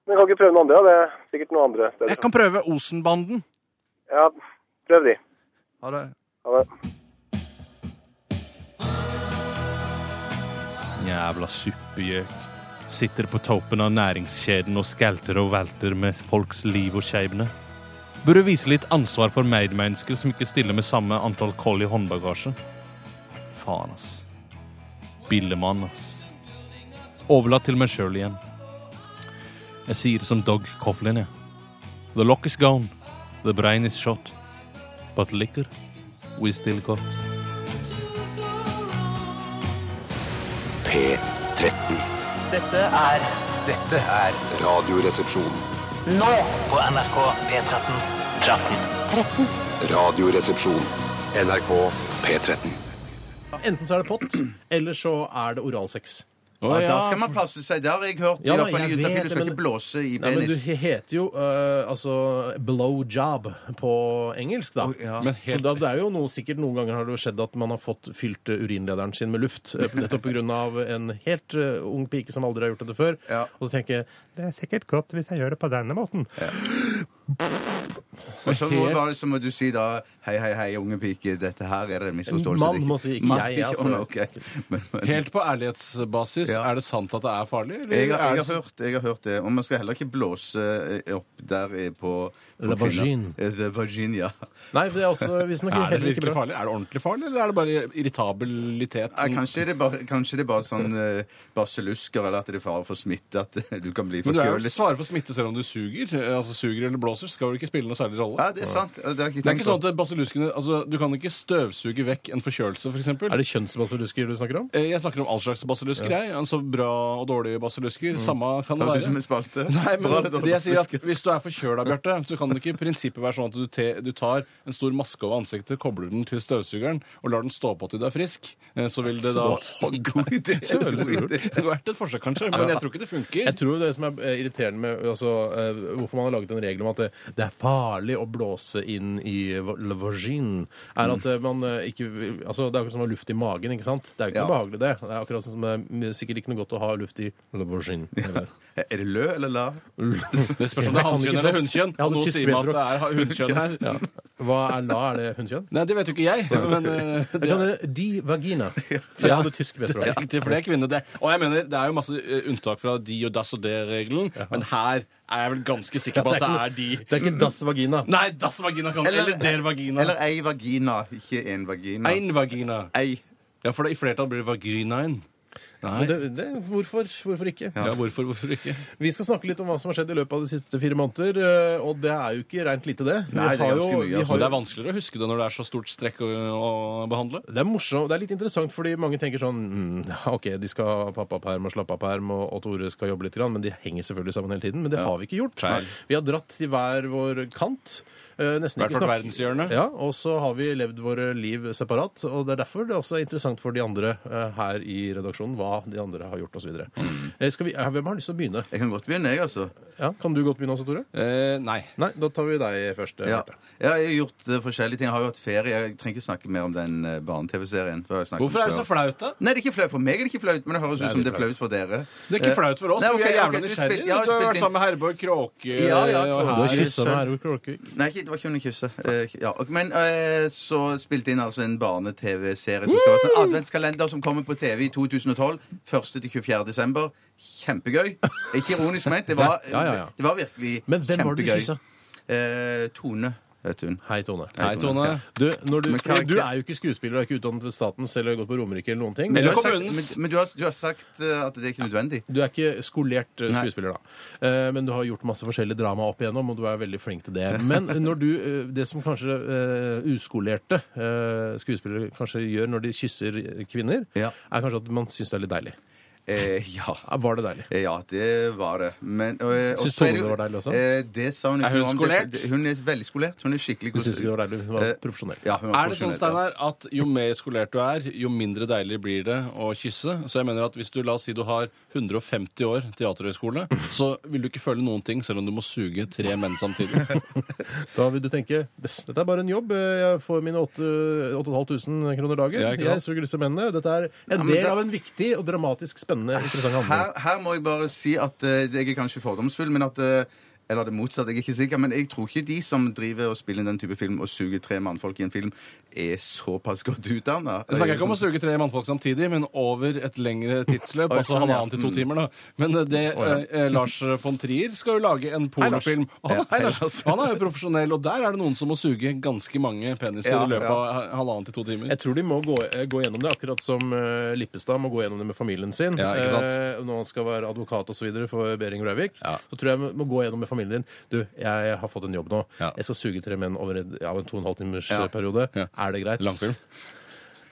Speaker 14: Men kan ikke prøve noe andre, da. Det er sikkert noe andre steder.
Speaker 11: Jeg kan prøve Osenbanden.
Speaker 14: Ja, prøv de.
Speaker 11: Ha det.
Speaker 14: Ha det.
Speaker 11: Jævla suppegjøk. Sitter på toppen av næringskjeden og skalter og velter med folks liv og skjebne. Burde vise litt ansvar for medmennesker som ikke stiller med samme antall koll i håndbagasje. Faen, ass. Billemann, ass. Overlatt til meg sjøl igjen. Jeg sier det som Dog Coughlin, jeg. The lock is gone. The brain is shot. But liquor, we still got.
Speaker 7: P13.
Speaker 8: Dette er
Speaker 7: Dette er Radioresepsjonen.
Speaker 8: nå på NRK P13.
Speaker 7: 13. Radioresepsjon. NRK P13.
Speaker 2: Enten så er det pott, <clears throat> eller så er det oralsex.
Speaker 5: Ja, da skal man passe seg. Det har jeg hørt.
Speaker 2: Ja,
Speaker 5: i hvert fall
Speaker 2: jeg
Speaker 5: i
Speaker 2: vet
Speaker 5: Juntafil. Du
Speaker 2: det,
Speaker 5: skal
Speaker 2: men-
Speaker 5: ikke blåse i
Speaker 2: Nei, men du
Speaker 5: penis.
Speaker 2: he- heter jo øh, altså blow job på engelsk, da.
Speaker 5: Men helt-
Speaker 2: Så da, det er jo noe, sikkert noen ganger har det jo skjedd at man har fått fylt øh, urinlederen sin med luft. øh, Nettopp pga. en helt øh, ung pike som aldri har gjort dette før. Og så tenker jeg det er sikkert godt hvis jeg gjør det på denne måten.
Speaker 5: Og så må,
Speaker 2: helt-
Speaker 5: bare, så må du si da Hei, hei, hei, unge pike, dette her er det en misforståelse.
Speaker 2: mann
Speaker 5: Det er
Speaker 2: må si, ikke jeg, altså.
Speaker 5: Å, nei, ok. Men- men-
Speaker 11: Helt
Speaker 1: på ærlighetsbasis,
Speaker 5: Ja.
Speaker 1: er det sant at det er farlig? eller
Speaker 5: Jeg, har-
Speaker 1: er
Speaker 5: jeg,
Speaker 1: det-
Speaker 5: har hørt, jeg har hørt det. Og man skal heller ikke blåse eh, opp der eh, på, på
Speaker 2: La
Speaker 5: kvinner.
Speaker 2: vagin.
Speaker 5: Eh, The vagin, ja.
Speaker 2: Nei, for det er også visstnok
Speaker 1: Er det
Speaker 2: altså, heller ikke
Speaker 1: virkelig
Speaker 2: bra.
Speaker 1: farlig? Er det ordentlig farlig, eller er det bare irritabilitet?
Speaker 5: Nei, kanskje, det er bare, kanskje det er bare sånn eh, barselusker, eller at det er fare for smitte, at eh, du kan bli
Speaker 1: Men du er jo
Speaker 5: forkjølet.
Speaker 1: svaret på smitte selv om du suger. eh, Altså suger eller blåser, skal vel ikke spille noe særlig rolle?
Speaker 5: Ja, det er sant. Det har jeg ikke
Speaker 1: Det er
Speaker 5: tenkt
Speaker 1: ikke sånn at basiluskene altså, Du kan ikke støvsuge vekk en forkjølelse, f.eks.
Speaker 2: Er det kjønnsbasilusker du snakker om?
Speaker 1: Jeg snakker om all slags basilusker,
Speaker 2: Ja.
Speaker 1: jeg. Altså bra og dårlige basilusker.
Speaker 2: Mm.
Speaker 1: Samme kan det
Speaker 2: Høres ut
Speaker 1: være.
Speaker 2: som en spalte.
Speaker 1: Nei, men
Speaker 2: Bra eller dårlig
Speaker 1: det jeg sier er
Speaker 2: basilusker.
Speaker 1: at Hvis du er forkjøla, Bjarte, så kan det ikke i prinsippet være sånn at du, te, du tar en stor maske over ansiktet, kobler den til støvsugeren og lar den stå på til du er frisk. Eh, Så vil det da
Speaker 2: Så
Speaker 1: God idé! <laughs> Det kunne vært et forsøk, kanskje, men jeg tror ikke det funker.
Speaker 2: Jeg tror det som er eh, irriterende med altså, eh, hvorfor man har laget en regel om at det, det er farlig å blåse inn i va- la vagin, er at eh, man eh, ikke vil- altså, Det er akkurat som å ha luft i magen, ikke sant? Det er jo ikke
Speaker 5: Ja.
Speaker 2: noe behagelig, det. Det er akkurat som det er m- sikkert ikke noe godt å ha luft i la vagin. Eller-
Speaker 5: Er det lø eller la?
Speaker 1: Det spørs om det er hannkjønn eller hunnkjønn.
Speaker 2: Jeg hadde
Speaker 1: Nå sier man at det er
Speaker 2: tysk
Speaker 1: hunnkjønn her.
Speaker 2: <laughs> Ja. Hva er la? Er det hunnkjønn?
Speaker 1: <laughs> Nei, det vet jo ikke <laughs> jeg. Men, eh,
Speaker 2: Jeg kan det de vagina. For jeg hadde tysk
Speaker 1: Det er
Speaker 2: vedspråk.
Speaker 1: riktig, for det er kvinne, det. Og jeg mener, det er jo masse eh, unntak fra de og das og det-regelen, men her er jeg vel ganske sikker på at det er de.
Speaker 2: Det er ikke dass vagina.
Speaker 1: Nei, das vagina kan Eller, eller der vagina.
Speaker 5: Eller ei vagina, ikke en vagina.
Speaker 1: Ein vagina. Ja, for det, i flertall blir det vaginaen.
Speaker 2: Men Det, det, hvorfor, hvorfor ikke?
Speaker 1: Ja, hvorfor, hvorfor ikke?
Speaker 2: Vi skal snakke litt om hva som har skjedd i løpet av de siste fire måneder, eh, og det er jo ikke rent lite, det. Vi
Speaker 1: Nei, det er
Speaker 2: har jo-
Speaker 1: ganske mye.
Speaker 2: vi
Speaker 1: altså.
Speaker 2: har
Speaker 1: Det
Speaker 2: jo-
Speaker 1: er vanskeligere å huske det når det er så stort strekk å, å behandle.
Speaker 2: Det er morsomt, det er litt interessant, fordi mange tenker sånn mm, ja, OK, de skal ha pappaperm og slappaperm, og, og Tore skal jobbe litt, grann, men de henger selvfølgelig sammen hele tiden. Men det har vi ikke gjort.
Speaker 1: Nei.
Speaker 2: Vi har dratt til hver vår kant. eh, nesten
Speaker 1: Hvert
Speaker 2: ikke
Speaker 1: vårt
Speaker 2: snakk-
Speaker 1: verdenshjørne.
Speaker 2: Ja, og så har vi levd våre liv separat. Og det er derfor det også er interessant for de andre eh, her i redaksjonen hva de andre har gjort, osv.
Speaker 1: Mm.
Speaker 2: Eh, Hvem har lyst til å begynne?
Speaker 5: Jeg kan godt begynne, jeg, altså.
Speaker 2: Ja, kan du godt begynne også, Tore?
Speaker 1: nei.
Speaker 2: Nei, Da tar vi deg først. eh,
Speaker 5: Ja.
Speaker 2: Bjarte.
Speaker 5: ja, jeg har gjort eh, forskjellige ting. Jeg har jo hatt ferie. Jeg trenger ikke snakke mer om den eh, barne-TV-serien. for jeg har snakket om
Speaker 1: Hvorfor er
Speaker 5: før.
Speaker 1: det så flaut, da?
Speaker 5: Nei, det er ikke flaut. For meg er det ikke flaut, men det høres
Speaker 1: Nei,
Speaker 5: ut som
Speaker 1: det
Speaker 5: det
Speaker 1: er
Speaker 5: er flaut for dere.
Speaker 1: Det er ikke
Speaker 5: Eh,
Speaker 1: flaut for oss.
Speaker 5: nei,
Speaker 1: men vi
Speaker 5: ok,
Speaker 1: er
Speaker 5: ok,
Speaker 1: jævla
Speaker 5: så vi spil-
Speaker 1: nysgjerrige.
Speaker 5: ja,
Speaker 1: Du har
Speaker 5: spilt
Speaker 1: vært
Speaker 5: inn-
Speaker 1: sammen med Herborg Kråke
Speaker 5: ja, ja,
Speaker 1: og
Speaker 5: for-
Speaker 1: her-
Speaker 5: Nei, ikke- det var ikke under kysset. Eh, ja. ok, Men eh, så spilte jeg inn altså en barne-TV-serie som skal være sånn adventskalender som kommer på TV i 2012. 1. til 24. desember. Kjempegøy. Ikke ironisk ment. Det var,
Speaker 2: Ja, ja, ja.
Speaker 5: Det var virkelig
Speaker 2: Men hvem var det du
Speaker 5: kjempegøy.
Speaker 2: kyssa?
Speaker 5: Eh, Tone. Heter hun.
Speaker 2: Hei, Tone.
Speaker 5: Hei, Tone. Ja.
Speaker 2: Du, når du,
Speaker 5: Men
Speaker 2: fordi
Speaker 5: karakter-
Speaker 2: du er jo ikke skuespiller, du er ikke utdannet ved staten selv, har gått på Romerike eller noen ting.
Speaker 5: Men, du har,
Speaker 2: Men-
Speaker 5: sagt, men, men du, har, du har sagt eh, at det er ikke nødvendig.
Speaker 2: Du er ikke skolert eh,
Speaker 5: Nei.
Speaker 2: skuespiller, da. Eh, Men du har gjort masse forskjellig drama opp igjennom, og du er veldig flink til det. Men når du, eh, det som kanskje eh, uskolerte eh, skuespillere kanskje gjør når de kysser kvinner, er kanskje at man syns det er litt deilig. Eh,
Speaker 5: ja.
Speaker 2: Var det deilig?
Speaker 5: Eh, Ja, det var det. Men, og, og
Speaker 2: Syns
Speaker 5: så er
Speaker 2: Tone
Speaker 5: jo-
Speaker 2: det var deilig også?
Speaker 5: Eh, det sa hun ikke
Speaker 2: Er hun
Speaker 5: noe om. Det-
Speaker 1: skolert?
Speaker 5: det- Hun er veldig skolert. Hun er skikkelig Eh,
Speaker 2: Du syns ikke det var deilig? Hun var profesjonell.
Speaker 5: Ja, hun var
Speaker 1: Er det sånn,
Speaker 5: profesjonell, ja.
Speaker 1: Steinar, at jo mer skolert du er, jo mindre deilig blir det å kysse? Så jeg mener at hvis du, la oss si du har 150 år teaterhøgskole, så vil du ikke føle noen ting selv om du må suge tre menn samtidig.
Speaker 2: Da vil du tenke dette er bare en jobb, eh, jeg får mine åtte- 8500 kroner dagen.
Speaker 1: Ja, ikke sant?
Speaker 2: jeg suger disse mennene. Dette er
Speaker 5: Ja,
Speaker 2: en
Speaker 5: men
Speaker 2: del
Speaker 5: det-
Speaker 2: av en viktig og dramatisk spennende interessant handling.
Speaker 5: Her, her må jeg bare si at eh, jeg er kanskje fordomsfull, men at eh, eller det motsatte, jeg er ikke sikker, men jeg tror ikke de som driver og spiller inn den type film og suger tre mannfolk i en film, er såpass godt utdanna.
Speaker 1: Jeg snakker ikke om å suge tre mannfolk samtidig, men over et lengre tidsløp.
Speaker 5: Oi,
Speaker 1: altså
Speaker 5: sånn, ja.
Speaker 1: halvannen til to timer, da. Men eh, det,
Speaker 5: Å, ja.
Speaker 1: eh, Lars von Trier skal jo lage en
Speaker 5: Hei, Lars.
Speaker 1: pornofilm. Og Han,
Speaker 5: Ja,
Speaker 1: hei,
Speaker 5: hei,
Speaker 1: Lars. han er jo profesjonell, og der er det noen som må suge ganske mange peniser
Speaker 2: Ja,
Speaker 1: i løpet
Speaker 2: ja.
Speaker 1: av halvannen til to timer.
Speaker 2: Jeg tror de må gå, eh, gå gjennom det, akkurat som eh, Lippestad må gå gjennom det med familien sin.
Speaker 1: Ja, ikke sant?
Speaker 2: eh, når han skal være advokat og så videre for Behring Breivik. Så tror jeg må- må gå gjennom med familien din. Du, jeg har fått en jobb nå. Jeg skal suge tre menn over en- ja, en to og en halv timers
Speaker 5: Ja.
Speaker 2: eh, periode. Er det greit?
Speaker 5: Langfilm.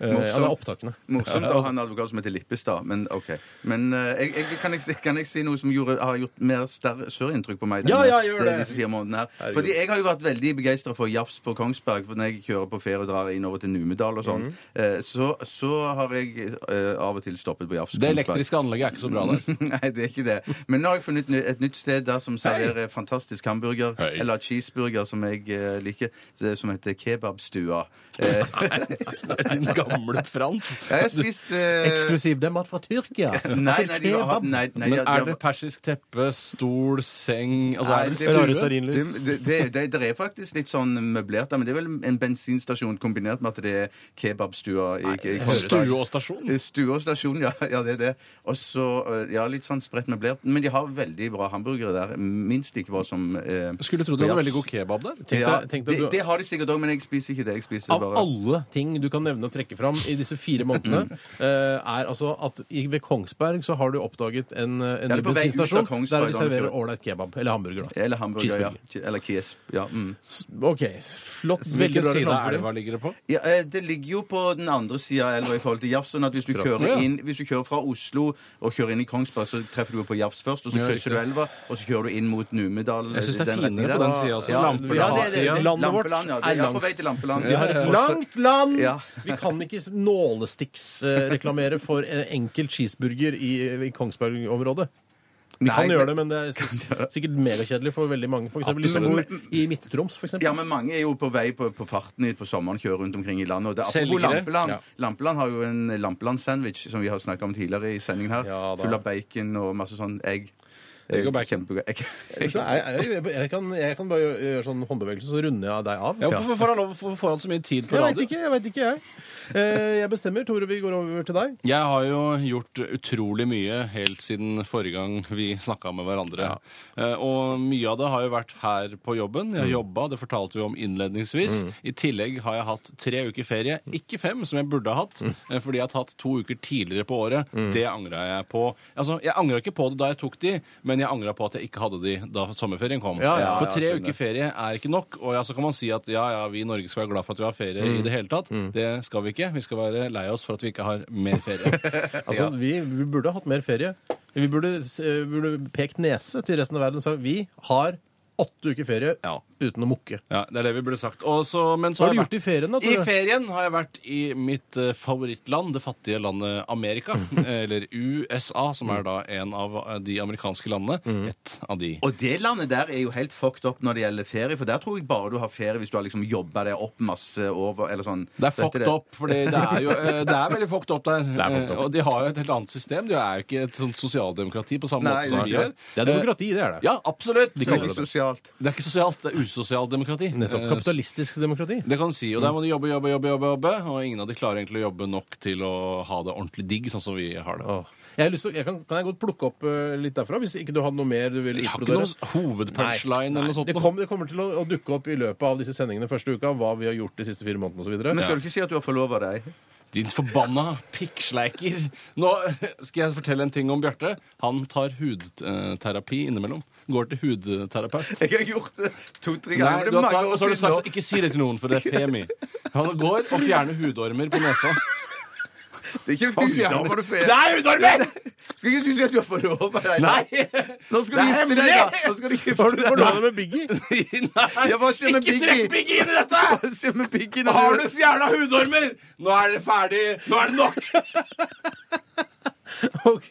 Speaker 2: Eh, ja, det er opptakene.
Speaker 5: Morsomt
Speaker 2: Ja,
Speaker 5: å
Speaker 2: altså.
Speaker 5: ha en advokat som heter Lippestad, men OK. Men eh, jeg, jeg, kan, jeg, si- kan jeg si noe som gjorde, har gjort mer større, større inntrykk på meg
Speaker 2: Ja,
Speaker 5: denne-
Speaker 2: ja, gjør det.
Speaker 5: disse fire månedene her?
Speaker 2: Herregud.
Speaker 5: Fordi jeg har jo vært veldig begeistra for jafs på Kongsberg for når jeg kjører på ferie og drar innover til Numedal og sånn.
Speaker 1: Mhm.
Speaker 5: eh, så, så har jeg eh, av og til stoppet på jafs.
Speaker 1: Det elektriske anlegget er ikke så bra der.
Speaker 2: <laughs>
Speaker 5: <laughs> Nei, det er ikke det. Men nå har jeg funnet ny- et nytt sted der som serverer fantastisk hamburger, eller cheeseburger, som jeg eh, liker, så- som heter Kebabstua. Eh,
Speaker 1: Din gamle Frans.
Speaker 5: Jeg har spist eh,
Speaker 2: Eksklusiv dem var fra Tyrkia.
Speaker 5: <laughs>
Speaker 2: Altså,
Speaker 5: Nei, nei, de har hatt- nei, nei,
Speaker 1: Men
Speaker 5: de har-
Speaker 1: er det persisk teppe, stol, seng altså,
Speaker 5: Nei,
Speaker 1: er det
Speaker 5: det-
Speaker 1: stue?
Speaker 5: Det, det, det, det er faktisk litt sånn møblert der, men det er vel en bensinstasjon kombinert med at det er kebabstua. i- i Kongsberg.
Speaker 1: Stue og stasjon?
Speaker 5: Eh, Stue og stasjon, ja. <laughs> ja det er det. Og så eh, ja, litt sånn spredt møblert. Men de har veldig bra hamburgere der. Minst like bra som eh,
Speaker 1: Skulle tro de hadde veldig god kebab der.
Speaker 2: Tenk
Speaker 5: ja,
Speaker 2: deg- tenk deg
Speaker 5: det,
Speaker 2: du-
Speaker 5: det har de sikkert òg, men jeg spiser ikke det. Jeg spiser
Speaker 2: Av
Speaker 5: bare
Speaker 2: alle ting du kan nevne og trekke fram i disse fire månedene,
Speaker 5: Mm.
Speaker 2: <laughs> eh, er altså at i- ved Kongsberg så har du oppdaget en, eh, en
Speaker 5: Ja,
Speaker 2: ny
Speaker 5: det er på vei ut av
Speaker 2: bensinstasjon
Speaker 5: Kongsberg,
Speaker 2: der de
Speaker 5: da.
Speaker 2: serverer ålreit kebab. Eller hamburger, da.
Speaker 5: Eller hamburger, ja.
Speaker 2: Cheeseburger.
Speaker 5: Che- Eller kies. Ja, mm.
Speaker 2: OK. Flott. Veldig bra reklame for dem.
Speaker 1: ligger det på?
Speaker 5: Ja, eh, det ligger jo på den andre sida av elva i forhold til Jafs. Sånn at hvis du,
Speaker 2: Akkurat.
Speaker 5: kjører
Speaker 2: Ja.
Speaker 5: inn, hvis du kjører fra Oslo og kjører inn i Kongsberg, så treffer du jo på Jafs først, og så
Speaker 2: Ja, riktig.
Speaker 5: krysser du elva, og så kjører du inn mot Numedal.
Speaker 2: Jeg synes det er
Speaker 5: den
Speaker 2: finere
Speaker 5: retningen
Speaker 2: på
Speaker 5: der.
Speaker 2: den siden også.
Speaker 5: Ja,
Speaker 2: Lampeland-
Speaker 5: ja, det er det.
Speaker 2: siden. Landet vårt
Speaker 5: Lampeland, ja.
Speaker 2: er
Speaker 5: Det er
Speaker 2: langt.
Speaker 5: på vei til Lampeland.
Speaker 2: Vi har
Speaker 5: Ja, ja.
Speaker 2: et langt land!
Speaker 5: Ja.
Speaker 2: Vi kan ikke nålestikksreklamere for en enkel cheeseburger i, i Kongsberg-området. Vi
Speaker 5: Nei,
Speaker 2: kan gjøre det,
Speaker 5: men-
Speaker 2: men det er s- sikkert megakjedelig for veldig mange. For eksempel de som
Speaker 5: Absolutt.
Speaker 2: bor i Midt-Troms, for eksempel.
Speaker 5: Ja, men mange er jo på vei på, på farten hit på sommeren, kjører rundt omkring i landet. Og det, apropos
Speaker 2: Selgere.
Speaker 5: Lampeland.
Speaker 2: Ja.
Speaker 5: Lampeland har jo en Lampeland-sandwich som vi har snakka om tidligere i sendingen her.
Speaker 2: da.
Speaker 5: Full av bacon og masse sånn egg. Eh,
Speaker 2: går backen.
Speaker 5: kjempegøy. Jeg-
Speaker 2: Jeg, jeg, jeg, kan, jeg kan bare gjøre, gjøre sånn håndbevegelse, så runder jeg deg av.
Speaker 1: Ja, hvorfor får han lov- hvorfor får han så mye tid på
Speaker 2: Jeg
Speaker 1: radio?
Speaker 2: veit ikke, jeg vet ikke, jeg. Eh, Jeg bestemmer. Tore, vi går over til deg.
Speaker 1: Jeg har jo gjort utrolig mye helt siden forrige gang vi snakka med hverandre. Eh, Og mye av det har jo vært her på jobben. Jeg
Speaker 12: Mm.
Speaker 1: har jobba, det fortalte vi om innledningsvis.
Speaker 12: Mm.
Speaker 1: I tillegg har jeg hatt tre uker ferie. Ikke fem, som jeg burde ha hatt, eh, fordi jeg har tatt to uker tidligere på året.
Speaker 12: Mm.
Speaker 1: Det angra jeg på. Altså, jeg angra ikke på det da jeg tok de, men jeg angra på at jeg ikke hadde de da sommerferien kom.
Speaker 12: Ja, ja,
Speaker 1: For
Speaker 12: ja,
Speaker 1: tre
Speaker 12: skjønner.
Speaker 1: uker ferie er ikke nok. Og ja, så kan man si at ja, ja, vi i Norge skal være glad for at vi har ferie
Speaker 2: Mm.
Speaker 1: i det hele tatt. Det skal vi ikke. Vi skal være lei oss for at vi ikke har mer ferie.
Speaker 12: <laughs>
Speaker 2: Altså, vi, vi burde hatt mer ferie. Vi burde, s- eh, burde pekt nese til resten av verden og sagt vi har åtte uker ferie uten å mukke.
Speaker 1: Ja, det er det vi burde sagt. Og så- men så
Speaker 2: Hva har du
Speaker 1: jeg
Speaker 2: gjort i
Speaker 1: vært-
Speaker 2: ferien da,
Speaker 1: I
Speaker 2: Tore?
Speaker 1: ferien har jeg vært i mitt eh, favorittland, det fattige landet Amerika.
Speaker 5: Mhm.
Speaker 1: <laughs> eller USA, som er da en av eh, de amerikanske landene. Et av de.
Speaker 5: <laughs> Mhm. Og det landet der er jo helt fucked up når det gjelder ferie, for der tror jeg bare du har ferie hvis du har liksom jobba deg opp masse over eller sånn.
Speaker 1: Det er fucked up, fordi det er jo eh, Det er veldig fucked
Speaker 5: <laughs>
Speaker 1: up der.
Speaker 5: er fucked
Speaker 1: Eh,
Speaker 5: up.
Speaker 1: Og de har jo et helt annet system. De er jo ikke et sånt sosialdemokrati på samme
Speaker 5: Nei,
Speaker 1: måte som vi
Speaker 5: det er
Speaker 1: er.
Speaker 5: ikke. Det
Speaker 2: eh,
Speaker 5: er demokrati, det er det.
Speaker 1: Ja, absolutt.
Speaker 5: De kaller det det. sosialt.
Speaker 1: Det er ikke sosialt, det er usosialdemokrati.
Speaker 2: Nettopp.
Speaker 1: Eh,
Speaker 2: Kapitalistisk demokrati.
Speaker 1: Det kan du si, og
Speaker 5: Mm.
Speaker 1: Der må du jobbe, jobbe, jobbe, jobbe, jobbe og ingen av de klarer egentlig å jobbe nok til å ha det ordentlig digg, sånn som vi har det.
Speaker 2: Jeg har lyst til, å- jeg kan, kan jeg godt plukke opp eh, litt derfra, hvis ikke du hadde noe mer du vil
Speaker 1: Jeg har ikke
Speaker 2: utbrodere?
Speaker 5: sånn
Speaker 1: noen hovedpunchline eller noe sånt
Speaker 2: Det,
Speaker 1: nå.
Speaker 2: kom, det kommer til å, å dukke opp i løpet av disse sendingene første uka, hva vi har gjort de siste fire månedene osv.
Speaker 5: Men skal du ikke si at du har forlova deg?
Speaker 1: Din forbanna pikksleiker. Nå skal jeg fortelle en ting om Bjarte. Han tar hudterapi innimellom. Går til hudterapeut.
Speaker 5: Jeg har gjort det to-tre
Speaker 1: Nei,
Speaker 5: ganger.
Speaker 1: du har tatt, og så har du sagt ikke si det til noen, for det er femi. Han går og fjerner hudormer på nesa.
Speaker 5: Det er ikke
Speaker 1: Han fjerner- <laughs>
Speaker 5: hudormer du fjerner.
Speaker 1: Det er hudormer!
Speaker 5: Skal ikke du si at du har forlova deg? da?
Speaker 1: Nei!
Speaker 5: Nå skal du gifte
Speaker 1: Det er
Speaker 5: deg,
Speaker 1: hemmelig!
Speaker 5: da! Nå skal du gifte
Speaker 2: Har du
Speaker 5: deg.
Speaker 2: forlova deg med Biggie?
Speaker 1: Nei,
Speaker 5: Ja, hva skjer med
Speaker 1: ikke
Speaker 5: Biggie?
Speaker 1: trekk Biggie inn i dette!
Speaker 5: Hva skjer med Biggie?
Speaker 1: Nå har du fjerna hudormer! Nå er det ferdig! Nå er det nok!
Speaker 2: OK.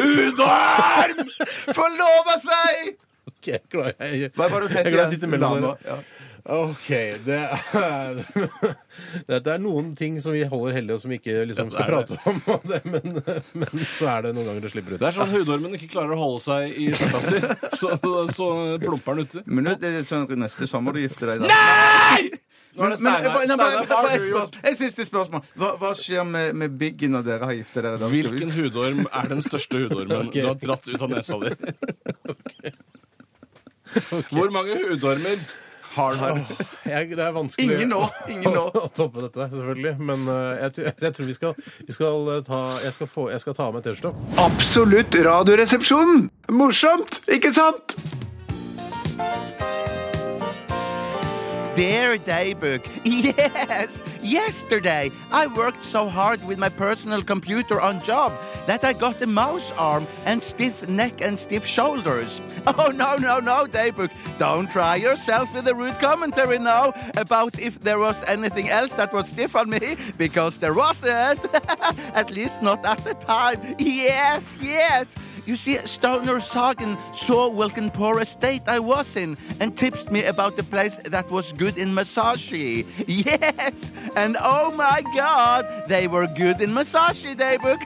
Speaker 5: Hudorm! Forlova seg!
Speaker 2: Ok, jeg er glad jeg, jeg,
Speaker 5: Hva var det du het
Speaker 2: er glad jeg
Speaker 5: igjen?
Speaker 2: sitter mellom
Speaker 5: Lana,
Speaker 2: dere. OK. Det er, dette er noen ting som vi holder hellig, og som vi ikke liksom,
Speaker 1: Ja,
Speaker 2: skal
Speaker 1: det er
Speaker 2: prate om. og Det, men, men så er det noen ganger det slipper ut.
Speaker 1: Det er sånn hudormen ikke klarer å holde seg i skjorta si, så, så plumper den uti.
Speaker 5: Men nå, det er sånn at neste sommer du gifter deg, da.
Speaker 1: Nei!
Speaker 5: <laughs> Men,
Speaker 1: Nå er det
Speaker 5: men, bare-
Speaker 1: Steinar.
Speaker 5: nei, bare-
Speaker 1: Steinar, hva
Speaker 5: bare et
Speaker 1: har du gjort?
Speaker 5: spørsmål. Et siste spørsmål. Hva, hva skjer med, med Biggie når dere har giftet dere? da? Skal vi-
Speaker 1: Hvilken hudorm er den største hudormen
Speaker 5: Ok.
Speaker 1: du har dratt ut av nesa di? Hvor mange hudormer har den?
Speaker 2: jeg, det er vanskelig
Speaker 1: Ingen nå, ingen nå.
Speaker 2: å toppe dette, selvfølgelig. Men eh, jeg, t- jeg tror vi skal, vi skal eh, ta Jeg skal, få, jeg skal ta av meg T-skjorta.
Speaker 4: Absolutt Radioresepsjonen! Morsomt, ikke sant?
Speaker 15: Dear Daybook, <laughs> yes! Yesterday, I worked so hard with my personal computer on job that I got a mouse arm and stiff neck and stiff shoulders. <laughs> Oh, no, no, no, Daybook. Don't try yourself with a rude commentary now about if there was anything else that was stiff on me, <laughs> because there wasn't. <laughs> at least not at the time. Yes, yes! You see, Stoner Sagen saw Wilkin poor estate I was in and tipped me about the place that was good in massage. <laughs> Yes! And oh my god, they were good in massage, Daybook.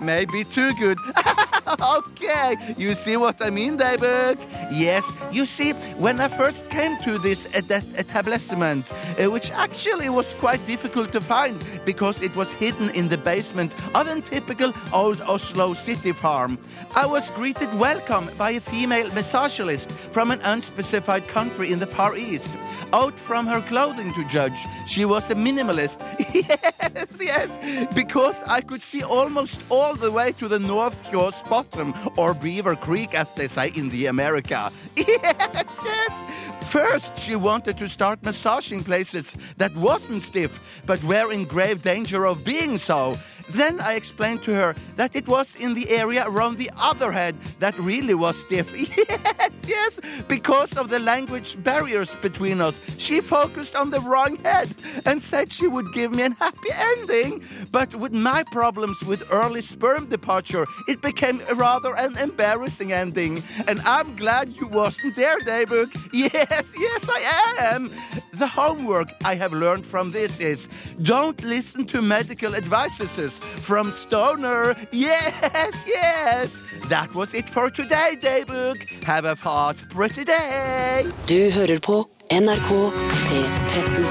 Speaker 15: <laughs> Maybe too good. <laughs> okay, you see what I mean, Daybook? Yes, you see, when I first came to this uh, that establishment, uh, which actually was quite difficult to find because it was hidden in the basement of a typical old Oslo city farm. I was greeted welcome by a female misogynist from an unspecified country in the Far East. Out from her clothing to judge, she was a minimalist. <laughs> yes, yes, because I could see almost all the way to the North Shore's bottom, or Beaver Creek as they say in the America. <laughs> Yes, yes. First, she wanted to start massaging places that wasn't stiff, but were in grave danger of being so. Then I explained to her that it was in the area around the other head that really was stiff. <laughs> Yes, yes, because of the language barriers between us. She focused on the wrong head and said she would give me an happy ending. But with my problems with early sperm departure, it became rather an embarrassing ending. And I'm glad you wasn't there, Daybook. <laughs> Yes, yes, I am. The homework I have learned from this is don't listen to medical advices from Stoner. Yes, yes. That was it for today, Daybook. Have a fart pretty day.
Speaker 7: Du hører på NRK P13.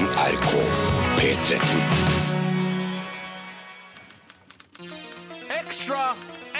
Speaker 16: NRK P13.
Speaker 9: Extra,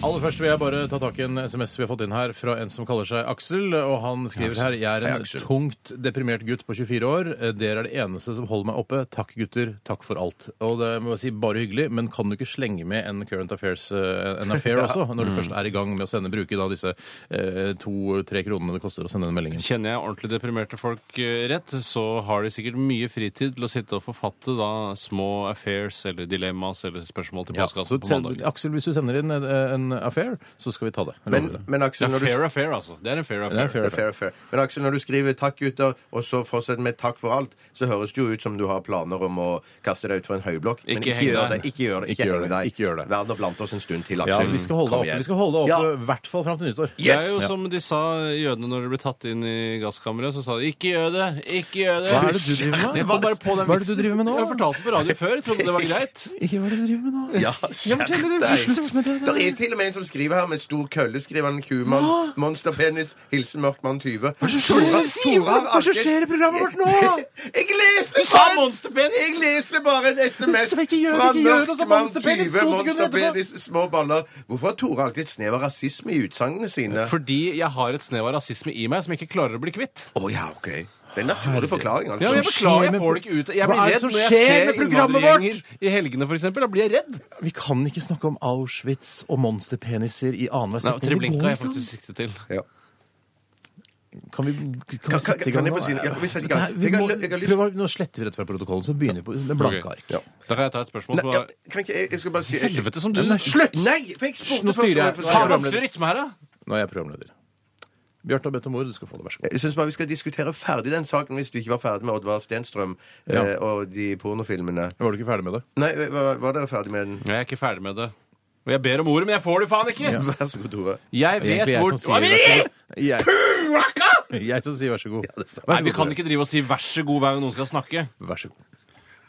Speaker 2: Aller først vil jeg bare ta tak i en SMS vi har fått inn her fra en som kaller seg Aksel. og Han skriver her jeg er en tungt deprimert gutt på 24 år. Eh, Dere er det eneste som holder meg oppe. Takk, gutter. Takk for alt. Og det må jeg si bare hyggelig, men kan du ikke slenge med en current affairs eh, en
Speaker 5: <laughs>
Speaker 2: affair
Speaker 1: Ja.
Speaker 2: også? Når du
Speaker 1: Mm.
Speaker 2: først er i gang med å sende bruke da disse eh, to-tre kronene det koster å sende den meldingen.
Speaker 1: Kjenner jeg ordentlig deprimerte folk eh, rett, så har de sikkert mye fritid til å sitte og forfatte da små affairs eller dilemmas eller spørsmål til
Speaker 2: Ja, så
Speaker 1: postkassen på
Speaker 2: send,
Speaker 1: mandag.
Speaker 2: Aksel, hvis du sender inn en, en affair, så skal vi ta det. Jeg
Speaker 5: Men-
Speaker 2: lover det.
Speaker 5: men Aksel,
Speaker 1: Det
Speaker 5: når
Speaker 1: er
Speaker 5: du-
Speaker 1: fair affair, altså. Det er en fair affair.
Speaker 5: Det er fair affair. Men Aksel, når du skriver 'takk, gutter', og så fortsetter med 'takk for alt', så høres det jo ut som du har planer om å kaste deg utfor en høyblokk. Men
Speaker 2: Ikke
Speaker 5: ikke
Speaker 2: heng
Speaker 5: gjør
Speaker 2: deg.
Speaker 5: det. Ikke gjør det.
Speaker 2: Ikke
Speaker 5: Ikke
Speaker 2: gjør
Speaker 5: heng deg.
Speaker 2: det. Ikke gjør det.
Speaker 5: Verden blant oss en stund til,
Speaker 2: Ja,
Speaker 5: Aksel.
Speaker 2: vi skal holde
Speaker 5: Kom
Speaker 2: det oppe,
Speaker 5: igjen.
Speaker 2: vi skal holde det
Speaker 5: Ja.
Speaker 2: oppe i hvert fall fram til nyttår.
Speaker 1: Det er jo
Speaker 2: Ja.
Speaker 1: som de sa jødene når de ble tatt inn i gasskammeret. Så sa de 'ikke gjør det', 'ikke gjør det'.
Speaker 2: Hva er det du driver med?
Speaker 1: Jeg kom bare på den
Speaker 2: Hva er det du
Speaker 1: vitsen.
Speaker 2: driver med nå?
Speaker 1: Jeg har fortalt den på radio før. Jeg trodde det var greit.
Speaker 2: Ikke hva er det du driver med nå?
Speaker 5: Ja,
Speaker 2: men
Speaker 5: skjerp
Speaker 2: det er
Speaker 5: deg.
Speaker 2: vits som-
Speaker 5: Det er til og med en som skriver her med stor kølle, skriver han kumann.
Speaker 2: Hva?
Speaker 5: Monsterpenis. Hilsen mørk mann 20. Hva
Speaker 2: i programmet vårt nå?
Speaker 5: <laughs> Jeg leser
Speaker 2: Du sa
Speaker 5: bare- Jeg leser bare en SMS
Speaker 2: Så ikke gjør det,
Speaker 5: fra
Speaker 2: ikke gjør det, så
Speaker 5: Mørkmann
Speaker 2: monsterpenis
Speaker 5: 20.
Speaker 2: to sekunder etterpå.
Speaker 5: Monsterpenis, små baller. Hvorfor har Tore alltid et snev av rasisme i utsagnene sine?
Speaker 1: Fordi jeg har et snev av rasisme i meg som jeg ikke klarer å bli kvitt.
Speaker 5: Å ja, ok. Det er en naturlig forklaring. altså.
Speaker 1: Ja, men jeg beklager, jeg får det ikke ut. Jeg blir redd når jeg ser innvandrergjenger i helgene, for eksempel. Da blir jeg redd.
Speaker 2: Vi kan ikke snakke om Auschwitz og monsterpeniser i annenhver
Speaker 1: Nei,
Speaker 2: setning. Det går
Speaker 1: Treblinka har jeg
Speaker 2: ikke an.
Speaker 1: faktisk siktet til.
Speaker 2: Kan vi, kan
Speaker 5: Kan-
Speaker 2: vi sette i
Speaker 5: kan
Speaker 2: gang
Speaker 5: jeg
Speaker 2: nå?
Speaker 5: få si- ja, kan vi sette i gang?
Speaker 2: Nei, vi
Speaker 5: Jeg har
Speaker 2: må-
Speaker 5: lyst- jeg har lyst-
Speaker 2: prøv å- Nå sletter vi rett fra protokollen, så begynner vi på, med blanke
Speaker 1: Ok.
Speaker 2: ark.
Speaker 1: Da kan jeg ta et spørsmål.
Speaker 5: Nei,
Speaker 1: på-
Speaker 5: ja, kan ikke, jeg, jeg skal bare si
Speaker 1: Helvete som du-
Speaker 5: Nei, Slutt! Nei! For jeg spurte
Speaker 1: Nå styrer jeg.
Speaker 5: først om
Speaker 1: Faen,
Speaker 5: jeg.
Speaker 1: vanskelig rytme her, da.
Speaker 2: Nå er jeg programleder. Bjarte har bedt om ordet. Du skal få det. Vær så god.
Speaker 5: Jeg syns bare vi skal diskutere ferdig den saken hvis du ikke var ferdig med Oddvar Stenstrøm
Speaker 2: Ja.
Speaker 5: eh, og de pornofilmene.
Speaker 2: Var du ikke ferdig med det?
Speaker 5: Nei, var, var dere ferdig med den?
Speaker 1: Jeg er ikke ferdig med det. Og jeg ber om ordet, men jeg får det faen ikke!
Speaker 5: Vær så god, Tore.
Speaker 1: Jeg
Speaker 2: Det er
Speaker 1: vet
Speaker 2: egentlig jeg
Speaker 1: hvor
Speaker 2: som sier vær så god. Jeg-
Speaker 1: Purakka!
Speaker 2: Jeg som sier vær så god.
Speaker 1: Nei, vi kan ikke drive og si 'vær så god' hver gang noen skal snakke.
Speaker 2: Vær så god.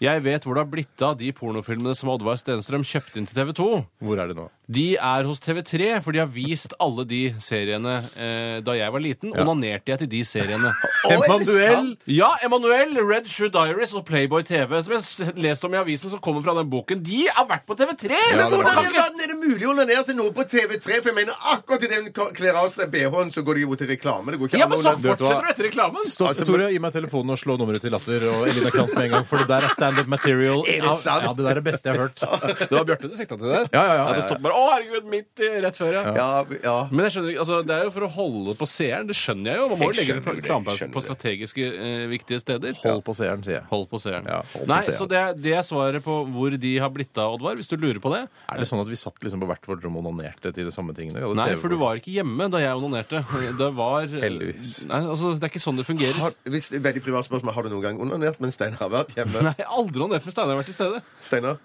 Speaker 1: Jeg vet hvor det har blitt av de pornofilmene som Oddvar Stenstrøm kjøpte inn til TV 2.
Speaker 2: Hvor er det nå?
Speaker 1: De er hos TV3, for de har vist alle de seriene eh, da jeg var liten.
Speaker 2: Ja.
Speaker 1: Onanerte jeg til de seriene.
Speaker 2: <laughs> Å, er det Emanuel? sant?
Speaker 1: Ja, Emanuel, Red Shoe Diaries og Playboy TV, som jeg s- leste om i avisen, som kommer fra den boken. De har vært på TV3!
Speaker 5: Men hvordan
Speaker 1: Kan
Speaker 5: i
Speaker 1: ikke-
Speaker 5: verden er det mulig å onanere til noe på TV3? For jeg mener akkurat idet hun kler av seg BH-en, så går det jo til reklame. Det går ikke
Speaker 1: Ja,
Speaker 5: an å
Speaker 1: men så
Speaker 5: onanere-
Speaker 1: fortsetter du etter reklamen!
Speaker 2: Stopp, Tore. Altså, Gi meg telefonen og slå nummeret til Latter og Elina Kranz med en gang, for det der er standup material.
Speaker 1: Er det
Speaker 2: Ja,
Speaker 1: sant?
Speaker 2: Ja, det der er det beste jeg har hørt. <laughs>
Speaker 1: Det var Bjarte du sikta til der?
Speaker 2: Ja, ja, ja.
Speaker 1: det stoppet bare, Å, herregud, midt i, rett før, ja. Men jeg skjønner ikke, altså, det er jo for å holde på seeren. Det skjønner jeg jo. Man må
Speaker 2: Jeg
Speaker 1: jo legge
Speaker 2: skjønner det, jeg
Speaker 1: reklamepause
Speaker 2: skjønner
Speaker 1: på strategiske eh, viktige steder.
Speaker 2: Hold på seeren, sier jeg.
Speaker 1: Hold på seeren.
Speaker 2: Ja, hold på
Speaker 1: Nei,
Speaker 2: seeren.
Speaker 1: så det, er- det er svaret på hvor de har blitt av, Oddvar, hvis du lurer på det.
Speaker 2: Er det sånn at vi satt liksom på hvert vårt rom og onanerte til de samme tingene? Vi hadde
Speaker 1: Nei,
Speaker 2: TV
Speaker 1: for du var ikke hjemme da jeg onanerte. Det var Heldigvis. Nei, altså, det er ikke sånn det fungerer.
Speaker 5: Har, hvis, veldig privat spørsmål. Har du noen gang onanert mens Steinar har vært hjemme?
Speaker 1: Nei, aldri onanert mens Steinar har vært til stede.
Speaker 5: Steinar?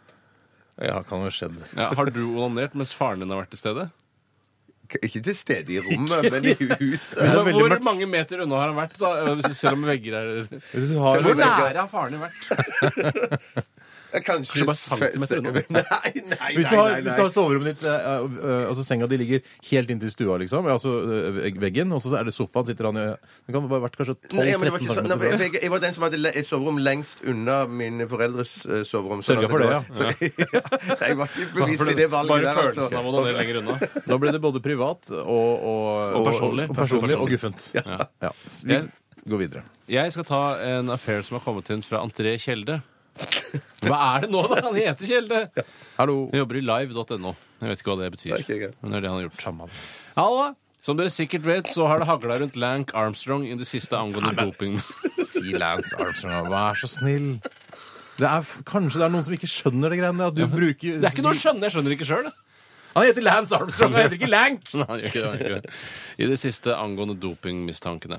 Speaker 2: Ja, kan jo skjedd.
Speaker 1: Ja, har du onanert mens faren din har vært til stede?
Speaker 5: Ikke til stede i rommet, men i huset.
Speaker 1: Men Hvor mange meter unna har han vært, da? Eh, Selv om vegger er
Speaker 5: Hvis du har-
Speaker 1: Selv om Hvor nære har faren din vært?
Speaker 5: Kanskje,
Speaker 2: bare centimeter unna.
Speaker 5: Nei, <laughs> nei, nei.
Speaker 2: Hvis du har,
Speaker 5: nei, nei.
Speaker 2: hvis du har soverommet ditt eh, eh, Altså senga di ligger helt inntil stua, liksom. Altså eh, veggen, og så er det sofaen sitter han i Det kan bare ha vært kanskje
Speaker 5: Nei, men det var
Speaker 2: 12-13
Speaker 5: ikke sånn. Nei,
Speaker 2: centimeter. <laughs>
Speaker 5: jeg, jeg var den som hadde le- et soverom lengst unna mine foreldres eh, soverom. sånn
Speaker 2: Sørget
Speaker 5: at
Speaker 2: for det,
Speaker 5: var-
Speaker 2: ja.
Speaker 5: Så, <laughs> Nei, jeg var ikke bevisst
Speaker 2: Bare
Speaker 5: i det altså- valget
Speaker 2: bare
Speaker 5: der.
Speaker 2: følelsen av å onanere lenger unna. Nå ble det både privat og, og,
Speaker 1: Og personlig.
Speaker 2: Og, personlig, og guffent.
Speaker 1: Ja.
Speaker 2: Ja. Vi går videre.
Speaker 1: Jeg skal ta en affair som har kommet inn fra André Kjelde. Hva er det nå, da? Han heter Kjelde!
Speaker 2: Hallo.
Speaker 1: Han jobber i live.no. Jeg vet ikke hva det betyr. Men det er det han har gjort. Halla! Som dere sikkert vet, så har det hagla rundt Lank Armstrong i det siste angående <laughs> doping.
Speaker 2: Si Lance Armstrong, vær så snill. Det er, f- kanskje det er noen som ikke skjønner det greiene der, at du bruker
Speaker 1: Det er ikke noe å skjønne. Jeg skjønner ikke sjøl.
Speaker 17: Han heter Lance Armstrong, han heter ikke Lank!
Speaker 1: Nei, han gjør ikke det, han gjør ikke det. I det siste angående dopingmistankene.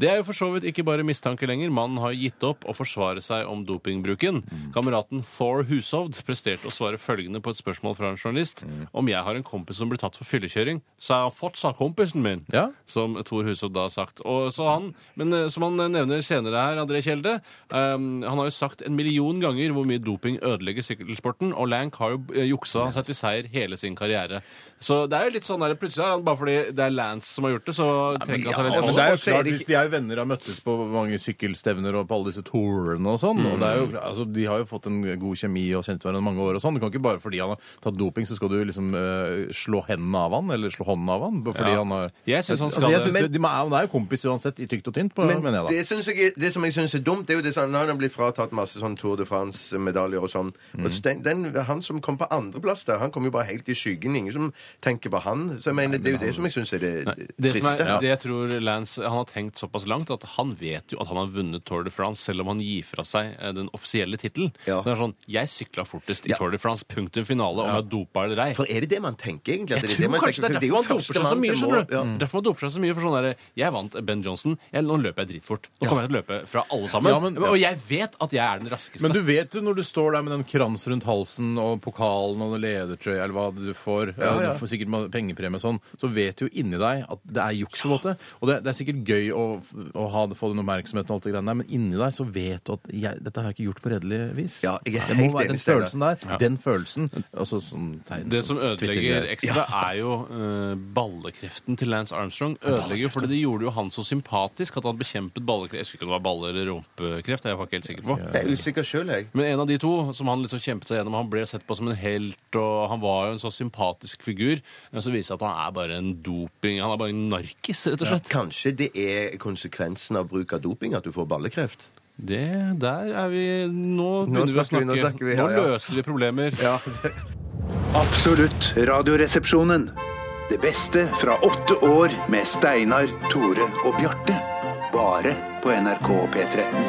Speaker 1: Det er jo for så vidt ikke bare mistanke lenger. Mannen har gitt opp å forsvare seg om dopingbruken. Kameraten Thor Hushovd presterte å svare følgende på et spørsmål fra en journalist. Om jeg har en kompis som ble tatt for fyllekjøring, så er han fortsatt kompisen min. Som Thor Hushovd da har sagt. Og så han, men eh, som han eh, nevner senere her, André Kjelde, ehm, han har jo sagt en million ganger hvor mye doping ødelegger sykkelsporten, og Lank har jo eh, juksa seg til seier hele sin karriere. Så det er jo litt sånn der, plutselig er han bare fordi det er Lance som har gjort det, så trekker
Speaker 2: Ja,
Speaker 1: han seg litt
Speaker 2: men det er jo klart, hvis De er jo venner og har møttes på mange sykkelstevner og på alle disse tourene og sånn. og det er jo, altså, De har jo fått en god kjemi og kjent hverandre i mange år og sånn. Du kan ikke bare fordi han har tatt doping, så skal du liksom eh, slå hendene av han, eller slå hånden av han. bare fordi
Speaker 5: Ja.
Speaker 2: han har...
Speaker 5: Jeg synes han skal
Speaker 2: altså,
Speaker 5: det.
Speaker 2: jeg synes det. De, må- han er jo kompis uansett, i tykt og tynt, på, mener jeg da.
Speaker 5: det, synes jeg, det som jeg syns er dumt, det er jo det som han har blitt fratatt masse sånn Tour de France-medaljer og sånn.
Speaker 1: Mm.
Speaker 5: Og så den, den, han som kom på andreplass der, han kom jo bare helt i skyggen. Ingen som tenker på han. Så jeg mener, det er jo det som jeg syns er det,
Speaker 1: Det som er,
Speaker 5: triste.
Speaker 1: det jeg tror Lance han har tenkt såpass langt at han vet jo at han har vunnet Tour de France, selv om han gir fra seg eh, den offisielle tittelen. Det er sånn 'Jeg sykla fortest i Tour de France. Punktum finale. Om jeg dopa eller ei'.
Speaker 5: For er det det man tenker, egentlig? At det
Speaker 1: Jeg
Speaker 5: er
Speaker 1: tror
Speaker 5: det man
Speaker 1: kanskje det
Speaker 5: tenker? Det
Speaker 1: er
Speaker 5: er jo
Speaker 1: derfor han doper seg så
Speaker 5: førstemann
Speaker 1: mye.
Speaker 5: til
Speaker 1: skjønner
Speaker 5: mål,
Speaker 1: du?
Speaker 5: ja.
Speaker 1: Derfor man doper seg så mye for sånn derre 'Jeg vant Ben Johnson. Jeg, nå løper jeg dritfort. Nå kommer jeg til å løpe fra alle sammen.'
Speaker 2: Ja, men-
Speaker 1: Og jeg vet at jeg er den raskeste.
Speaker 2: Men du vet jo når du står der med den krans rundt halsen og pokalen og den ledertrøya eller hva du får,
Speaker 1: Ja, ja.
Speaker 2: du får sikkert ma- pengepremie og sånn, så vet du jo inni deg at det er juks på en måte. Og det, det er sikkert gøy å, å ha, få den oppmerksomheten og alt det greiene der, men inni deg så vet du at jeg, dette har jeg ikke gjort på redelig vis.
Speaker 5: Ja, jeg er
Speaker 2: det
Speaker 5: helt
Speaker 2: må være
Speaker 5: enig,
Speaker 2: den
Speaker 5: Steinar.
Speaker 2: følelsen der.
Speaker 5: Ja.
Speaker 2: Den følelsen. Altså sånn tegn
Speaker 1: Det som
Speaker 2: sånn
Speaker 1: ødelegger
Speaker 2: Twitter-greier.
Speaker 1: ekstra, er jo eh, ballekreften til Lance Armstrong. Ødelegger fordi Det gjorde jo han så sympatisk at han bekjempet ballekreft. Jeg husker ikke om det var balle- eller rumpekreft. Jeg var ikke helt sikker på.
Speaker 5: Jeg er usikker sjøl, jeg.
Speaker 1: Men en av de to som han liksom kjempet seg gjennom, han ble sett på som en helt, og han var jo en så sympatisk figur. Men så viser det seg at han er bare en doping Han er bare en narkis, rett og slett.
Speaker 5: Kanskje det er konsekvensen av bruk av doping at du får ballekreft?
Speaker 1: Det Der er vi Nå begynner vi å
Speaker 5: snakker vi,
Speaker 1: snakke.
Speaker 5: nå
Speaker 1: Nå,
Speaker 5: snakker vi, ja, ja.
Speaker 1: løser vi problemer.
Speaker 4: Absolutt Radioresepsjonen. Det beste fra åtte år med Steinar, Tore og Bjarte. Bare på NRK P13.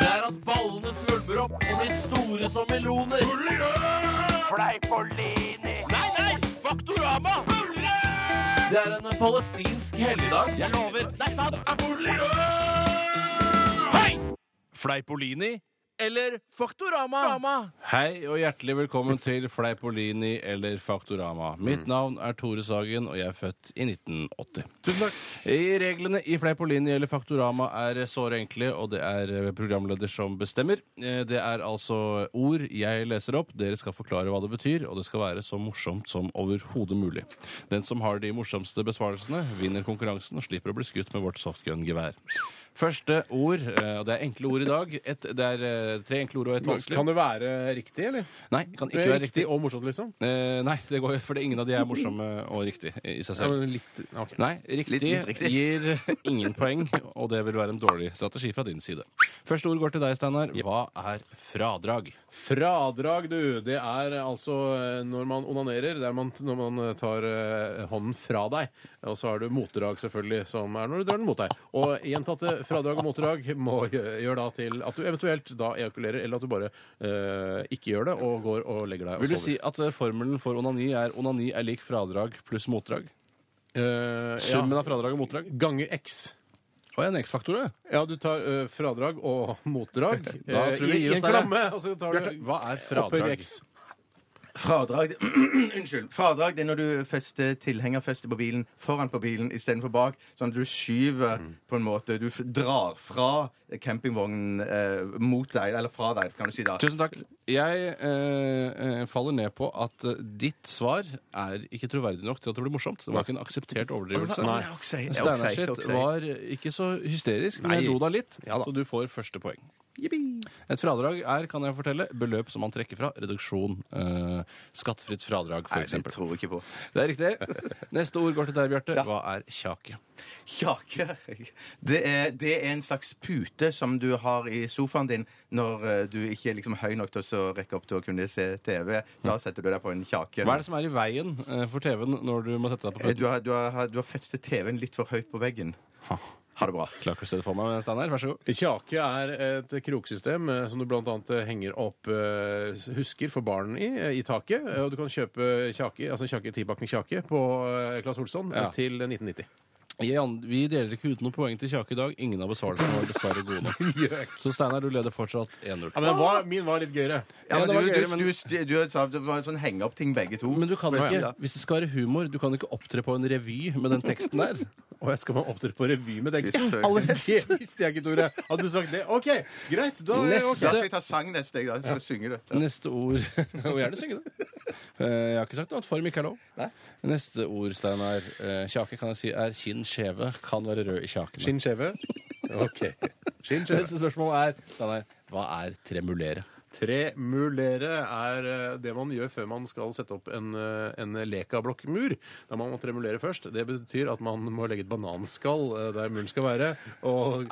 Speaker 18: Det er at ballene svulmer opp og blir store som meloner. Fleipolini. Nei, nei! Faktorama. Det er en palestinsk helligdag. Jeg lover. Det er sant. Hei! Fleipolini eller Faktorama?
Speaker 1: Hei og hjertelig velkommen til Fleipolini eller Faktorama.
Speaker 5: Mm.
Speaker 1: Mitt navn er Tore Sagen, og jeg er født i 1980. Tusen takk. I reglene i Fleipolini eller Faktorama er såre enkle, og det er eh, programleder som bestemmer. Eh, Det er altså ord jeg leser opp, dere skal forklare hva det betyr, og det skal være så morsomt som overhodet mulig. Den som har de morsomste besvarelsene, vinner konkurransen og slipper å bli skutt med vårt softgun-gevær. Første ord, eh, og det er enkle ord i dag. Et, det er eh, tre enkle ord og et vanskelig.
Speaker 17: Kan det være riktig, eller?
Speaker 1: Nei, det kan ikke være riktig.
Speaker 17: og morsomt, liksom?
Speaker 1: Eh, nei, det går, for det er ingen av de er morsomme og riktig i seg selv.
Speaker 17: Ja, men litt- ok.
Speaker 1: Nei, riktig,
Speaker 17: Litt- litt riktig.
Speaker 1: gir ingen poeng, og det vil være en dårlig strategi fra din side. Første ord går til deg, Steinar. Hva er fradrag?
Speaker 17: Fradrag, du. Det er altså eh, når man onanerer. Det er man, når man eh, tar eh, hånden fra deg. Og så har du motdrag, selvfølgelig, som er når du drar den mot deg. Og gjentatte fradrag og motdrag må gjøre, gjør da til at du eventuelt da ejakulerer, eller at du bare eh, ikke gjør det og går og legger deg og
Speaker 1: Vil du
Speaker 17: sover.
Speaker 1: si at eh, formelen for onani er onani er lik fradrag pluss motdrag? Summen av fradrag og motdrag?
Speaker 17: Ganger Eh, X.
Speaker 1: Å, en X-faktor, ja.
Speaker 17: Ja, du tar eh, fradrag og motdrag
Speaker 1: Da
Speaker 17: eh,
Speaker 1: tror jeg vi
Speaker 17: i,
Speaker 1: gir
Speaker 17: i
Speaker 1: oss
Speaker 17: en
Speaker 1: der, ja.
Speaker 17: klamme. Og så tar du
Speaker 1: Bjarte, hva er
Speaker 17: opphøyd
Speaker 5: fradrag?
Speaker 17: X.
Speaker 5: Fradrag <clears throat> Unnskyld. Fradrag det er når du fester tilhengerfeste på bilen foran på bilen istedenfor bak. Sånn at du skyver
Speaker 1: Mm.
Speaker 5: på en måte Du f- drar fra campingvognen eh, mot deg, eller fra deg, kan du si da.
Speaker 1: Tusen takk. Jeg eh, eh, faller ned på at eh, ditt svar er ikke troverdig nok til at det blir morsomt. Det var ikke en akseptert overdrivelse.
Speaker 5: Nei, ok, ok,
Speaker 1: Steinar sitt
Speaker 5: ok.
Speaker 1: var ikke så hysterisk,
Speaker 5: Nei.
Speaker 1: men jeg lo da litt, så du får første poeng. Et fradrag er, kan jeg fortelle, beløp som man trekker fra. Reduksjon. eh, skattfritt fradrag,
Speaker 5: Nei,
Speaker 1: for
Speaker 5: det
Speaker 1: eksempel.
Speaker 5: tror jeg ikke på.
Speaker 1: Det er riktig. Neste ord går til deg, Bjarte. Hva er kjake?
Speaker 5: Kjake. Det er, det er en slags pute som du har i sofaen din når eh, du ikke er liksom høy nok til å så rekke opp til å kunne se TV. Da setter du deg på en kjake.
Speaker 1: Hva er det som er i veien eh, for TV-en når du må sette deg på
Speaker 5: Eh,
Speaker 1: føttene?
Speaker 5: Du har, du, har, du har festet TV-en litt for høyt på veggen.
Speaker 1: Ha det bra. Klakerstedet for meg, Steinar. Vær så god.
Speaker 2: Kjake er et kroksystem eh, som du bl.a. henger opp eh, husker for barn i, eh, i taket. Eh, Og du kan kjøpe kjake, altså kjake, tibakken kjake på eh, Claes Olsson
Speaker 1: Ja.
Speaker 2: eh, til 1990.
Speaker 1: Jan, vi deler ikke ut noen poeng til Kjake i dag. Ingen av besvarelsene var dessverre gode nok. Så Steinar, du leder fortsatt 1-0.
Speaker 2: Ja, men den var, min var litt gøyere.
Speaker 19: Ja,
Speaker 1: Ja,
Speaker 19: men
Speaker 1: det var
Speaker 19: du,
Speaker 1: gøyere,
Speaker 19: du, du, du, sa det var en sånn henge-opp-ting, begge to.
Speaker 1: Men du kan
Speaker 19: Ja,
Speaker 1: ikke,
Speaker 19: ja.
Speaker 1: hvis det skal være humor, du kan ikke opptre på en revy med den teksten der.
Speaker 2: Og jeg skal man opptre på revy med teksten?
Speaker 1: teksten?
Speaker 2: Aller helst! Det visste jeg ikke, Tore. Hadde du sagt det? OK, greit. Da er
Speaker 19: Da skal vi
Speaker 2: jeg ok.
Speaker 19: ta sang neste, jeg, da. Så
Speaker 1: Ja.
Speaker 19: synger du.
Speaker 1: Neste ord <laughs> Og gjerne synge det. Eh, Jeg har ikke sagt noe at form ikke er lov. Neste ord, Steinar. eh, Kjake kan jeg si er kinn skjeve. Kan være rød i kjakene.
Speaker 2: Skinn skjeve? Ok. Skinn skjeve.
Speaker 1: Neste spørsmål er Steinar, hva er tremulere?
Speaker 2: Tremulere er eh, det man gjør før man skal sette opp en, eh, en lekablokkmur. Da man må tremulere først. Det betyr at man må legge et bananskall eh, der muren skal være. Og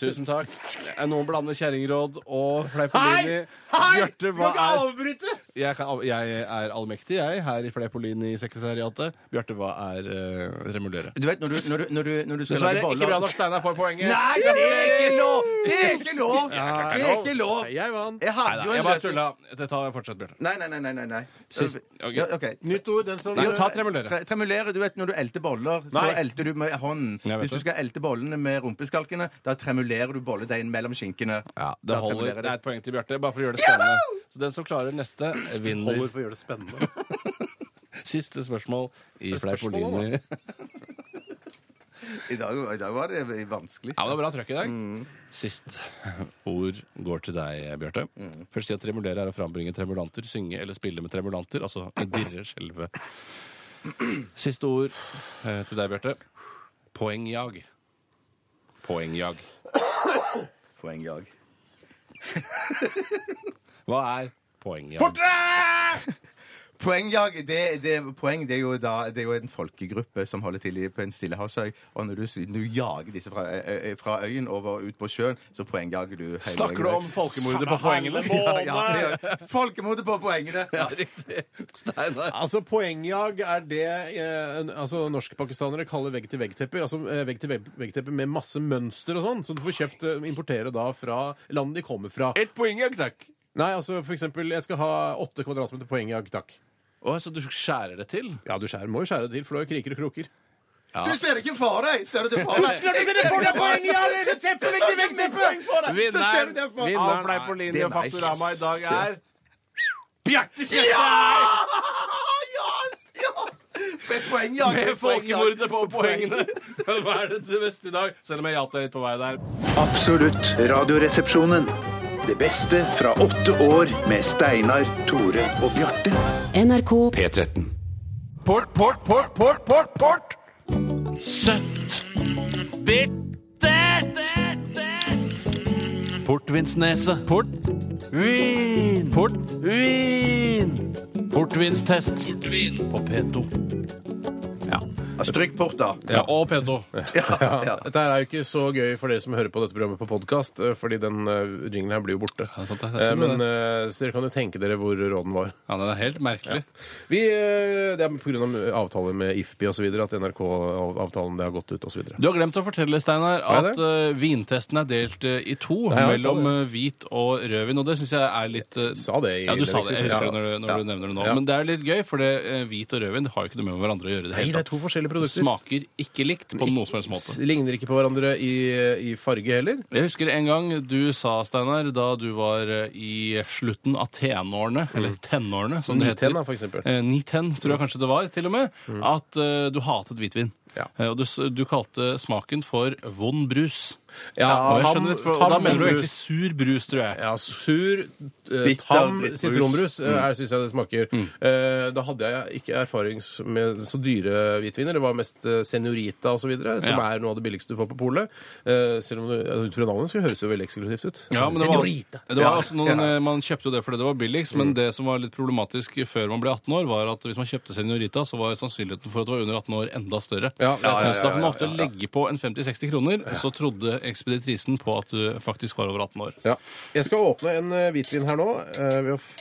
Speaker 1: Tusen takk. Eh, Noen blander kjerringråd og
Speaker 2: Hei!
Speaker 1: fleipolini.
Speaker 2: Hei!
Speaker 1: Bjarte,
Speaker 2: Du
Speaker 1: hva
Speaker 2: kan ikke
Speaker 1: er
Speaker 2: avbryte!
Speaker 1: jeg, kan, av- jeg er allmektig, jeg, her i Fleipolini-sekretariatet. Bjarte, hva er eh, tremulere?
Speaker 19: Du vet, når du, når du, når du, når du skal
Speaker 1: Dessverre
Speaker 19: lage boller-
Speaker 1: ikke bra nok. Steinar får poenget.
Speaker 19: Nei, det er ikke lov! Det er ikke lov! Det er ikke lov!
Speaker 2: Jeg vant.
Speaker 19: Jeg hadde jo
Speaker 1: Neida, jeg
Speaker 19: en
Speaker 1: bare
Speaker 19: løsning.
Speaker 1: tulla. Dette fortsetter, Bjarte.
Speaker 19: Nei, nei, nei. nei, nei, nei.
Speaker 1: Sist- ok.
Speaker 19: Ja, ok.
Speaker 2: Nytt ord. Den som
Speaker 1: Nei, ta tremulere.
Speaker 19: Tre- Tremulere, du vet Når du elter boller, så
Speaker 1: Nei.
Speaker 19: elter du med hånden.
Speaker 1: Jeg vet
Speaker 19: Hvis du
Speaker 1: det.
Speaker 19: skal elte bollene med rumpeskalkene, da tremulerer du bolledeigen mellom skinkene.
Speaker 1: Ja,
Speaker 19: Da
Speaker 1: det, holder,
Speaker 19: tremulerer
Speaker 1: det
Speaker 19: du.
Speaker 1: er et poeng til Bjarte, bare for å gjøre det spennende. Så den som klarer neste, vinner.
Speaker 2: Holder for å gjøre det spennende.
Speaker 1: <laughs> Siste spørsmål
Speaker 2: Er
Speaker 1: i
Speaker 2: det spørsmål,
Speaker 1: Fleipolini.
Speaker 19: I dag, I dag var det vanskelig.
Speaker 1: Ja, men det var bra trøkk i dag. Sist ord går til deg, Bjarte. Først si at tremulere er å frambringe tremulanter, synge eller spille med tremulanter. Altså dirre, skjelve. Siste ord eh, til deg, Bjarte. Poengjag. Poengjag.
Speaker 19: Poengjag.
Speaker 1: Hva er poengjag?
Speaker 19: <laughs> Poengjag, det, det, poeng, det, er jo da, det er jo en folkegruppe som holder til i- på en stillehavsøy. Og når du, s- du jager disse fra, ø- ø- fra øyen over ut på sjøen, så poengjager du hele
Speaker 1: Snakker du
Speaker 19: øyen.
Speaker 1: om folkemordet på poengene?
Speaker 19: Ja, ja, det gjør jeg. <laughs> folkemordet på poengene! Ja,
Speaker 1: riktig. Steinar.
Speaker 2: Altså, Poengjag er det eh, en- altså, norskpakistanere kaller vegg-til-vegg-tepper. Altså eh, vegg-til-vegg-tepper med masse mønster og sånn, som du får kjøpt eh, importere da fra landet de kommer fra.
Speaker 1: Et poengjag, takk.
Speaker 2: Nei, altså for eksempel, jeg skal ha åtte kvadratmeter poengjag, takk.
Speaker 1: Å, så du skjærer det til?
Speaker 2: Ja, du skjærer, må jo skjære det til, for det er jo kriker og kroker.
Speaker 19: Du ser det ikke for deg! Ser du det for deg?
Speaker 1: Husker du ikke det for deg, poengjag? Det er teppet, vekk, vekk, teppet! Vinneren av Fleipolini og Faktorama i dag er Bjarte Tjøstheim!
Speaker 19: Med poengjag!
Speaker 1: Med
Speaker 19: poengjag.
Speaker 1: folkemordet på poengene. Hva er det til beste i dag? Selv om jeg hjalp deg litt på vei der.
Speaker 4: Absolutt radioresepsjonen. Det beste fra åtte år med Steinar, Tore og Bjarte.
Speaker 20: NRK
Speaker 7: P13.
Speaker 21: Port, port, port, port, port, port. Søtt. Bittert.
Speaker 1: Portvinsnese. Portvin. Portvin. Portvinstest. Portvin. Og P2. Ja.
Speaker 19: Stryk bort, da.
Speaker 1: ja. Og P2.
Speaker 2: Ja, Dette er jo ikke så gøy for dere som hører på dette programmet på podkast, eh, fordi den eh, jinglen her blir jo borte.
Speaker 1: sant det. Det sånn er
Speaker 2: Eh,
Speaker 1: synd
Speaker 2: Men eh, så dere kan jo tenke dere hvor råden var.
Speaker 1: Ja, den er helt merkelig.
Speaker 2: Vi, eh, det er pga. avtaler med IFPI osv. at NRK-avtalen det har gått ut osv.
Speaker 1: Du har glemt å fortelle, Steinar,
Speaker 2: Hva er
Speaker 1: at eh, vintesten er delt eh, i to
Speaker 2: Nei, jeg sa
Speaker 1: mellom eh, hvit og rødvin, og det syns jeg er litt eh,
Speaker 2: Sa det i
Speaker 1: Ja, du sa
Speaker 2: innledningsvis,
Speaker 1: det. Jeg husker
Speaker 2: ja.
Speaker 1: det når, du- når du nevner det nå.
Speaker 2: Ja.
Speaker 1: Men det er litt gøy, for det, eh, hvit og rødvin har jo ikke noe med hverandre å gjøre. i Det,
Speaker 2: Nei,
Speaker 1: hele
Speaker 2: det er
Speaker 1: tatt.
Speaker 2: to forskjellige produkter.
Speaker 1: Smaker ikke likt på noen som helst
Speaker 2: S-
Speaker 1: måte.
Speaker 2: Ligner ikke på hverandre i, i farge heller.
Speaker 1: Jeg husker en gang du sa, Steinar, da du var eh, i slutten av tenårene, eller tenårene som det
Speaker 2: Mm.
Speaker 1: heter.
Speaker 2: Niten, da, for eksempel. Mm.
Speaker 1: Eh, 910, tror jeg kanskje det var, til og med, at eh, du hatet hvitvin.
Speaker 2: Ja.
Speaker 1: Eh, og du, s- du kalte smaken for vond brus.
Speaker 2: Ja,
Speaker 1: og jeg
Speaker 2: tam-
Speaker 1: skjønner litt, for,
Speaker 2: tam
Speaker 1: da mener du
Speaker 2: brus.
Speaker 1: egentlig sur brus, tror jeg.
Speaker 2: Ja, sur, eh,
Speaker 1: Bitter
Speaker 2: tam
Speaker 1: drittbrus.
Speaker 2: sitronbrus
Speaker 1: Mm.
Speaker 2: mm. syns jeg det smaker. Eh, da hadde jeg ikke erfaring s- med så dyre hvitviner. Det var mest eh, Senorita osv., som
Speaker 1: Ja.
Speaker 2: er noe av det billigste du får på polet. Eh, selv om det, altså, ut fra navnet skulle det høres jo veldig eksklusivt ut.
Speaker 1: Ja, men det var, det var også noen, eh, Man kjøpte jo det fordi det var billigst,
Speaker 5: Mm.
Speaker 1: men det som var litt problematisk før man ble 18 år, var at hvis man kjøpte Senorita, så var sannsynligheten for at du var under 18 år, enda større.
Speaker 2: Ja, det er sant.
Speaker 1: Så da kunne man ofte legge på en 50-60 kroner, så trodde ekspeditrisen på at du faktisk var over 18 år.
Speaker 2: Ja. Jeg skal åpne en eh, hvitvin her nå. eh, ved å f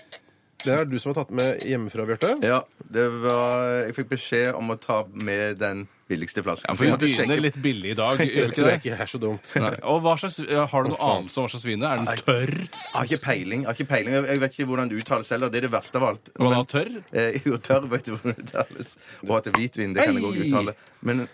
Speaker 2: det er du som har tatt med hjemmefra, Bjarte.
Speaker 19: Ja, det var Jeg fikk beskjed om å ta med den
Speaker 5: billigste flasken.
Speaker 1: Ja, for vi begynner litt billig i dag. gjør vi
Speaker 5: Jeg tror
Speaker 1: ikke
Speaker 5: ikke <laughs> det
Speaker 1: det
Speaker 5: er så dumt.
Speaker 1: Nei. Og hva slags, Har du
Speaker 5: Å,
Speaker 1: noe
Speaker 5: faen.
Speaker 1: anelse om hva slags vin det er? Er den
Speaker 5: Nei.
Speaker 1: tørr?
Speaker 5: Jeg har ikke peiling. Jeg, har ikke peiling. jeg, jeg vet ikke hvordan du uttaler selv. og Det er det verste av alt.
Speaker 1: Hva da,
Speaker 5: Men-
Speaker 1: tørr?
Speaker 5: Eh, jo, tørr vet du hvordan det uttales. Og at det er hvitvin, det kan jeg også
Speaker 1: Ei!
Speaker 5: uttale. Men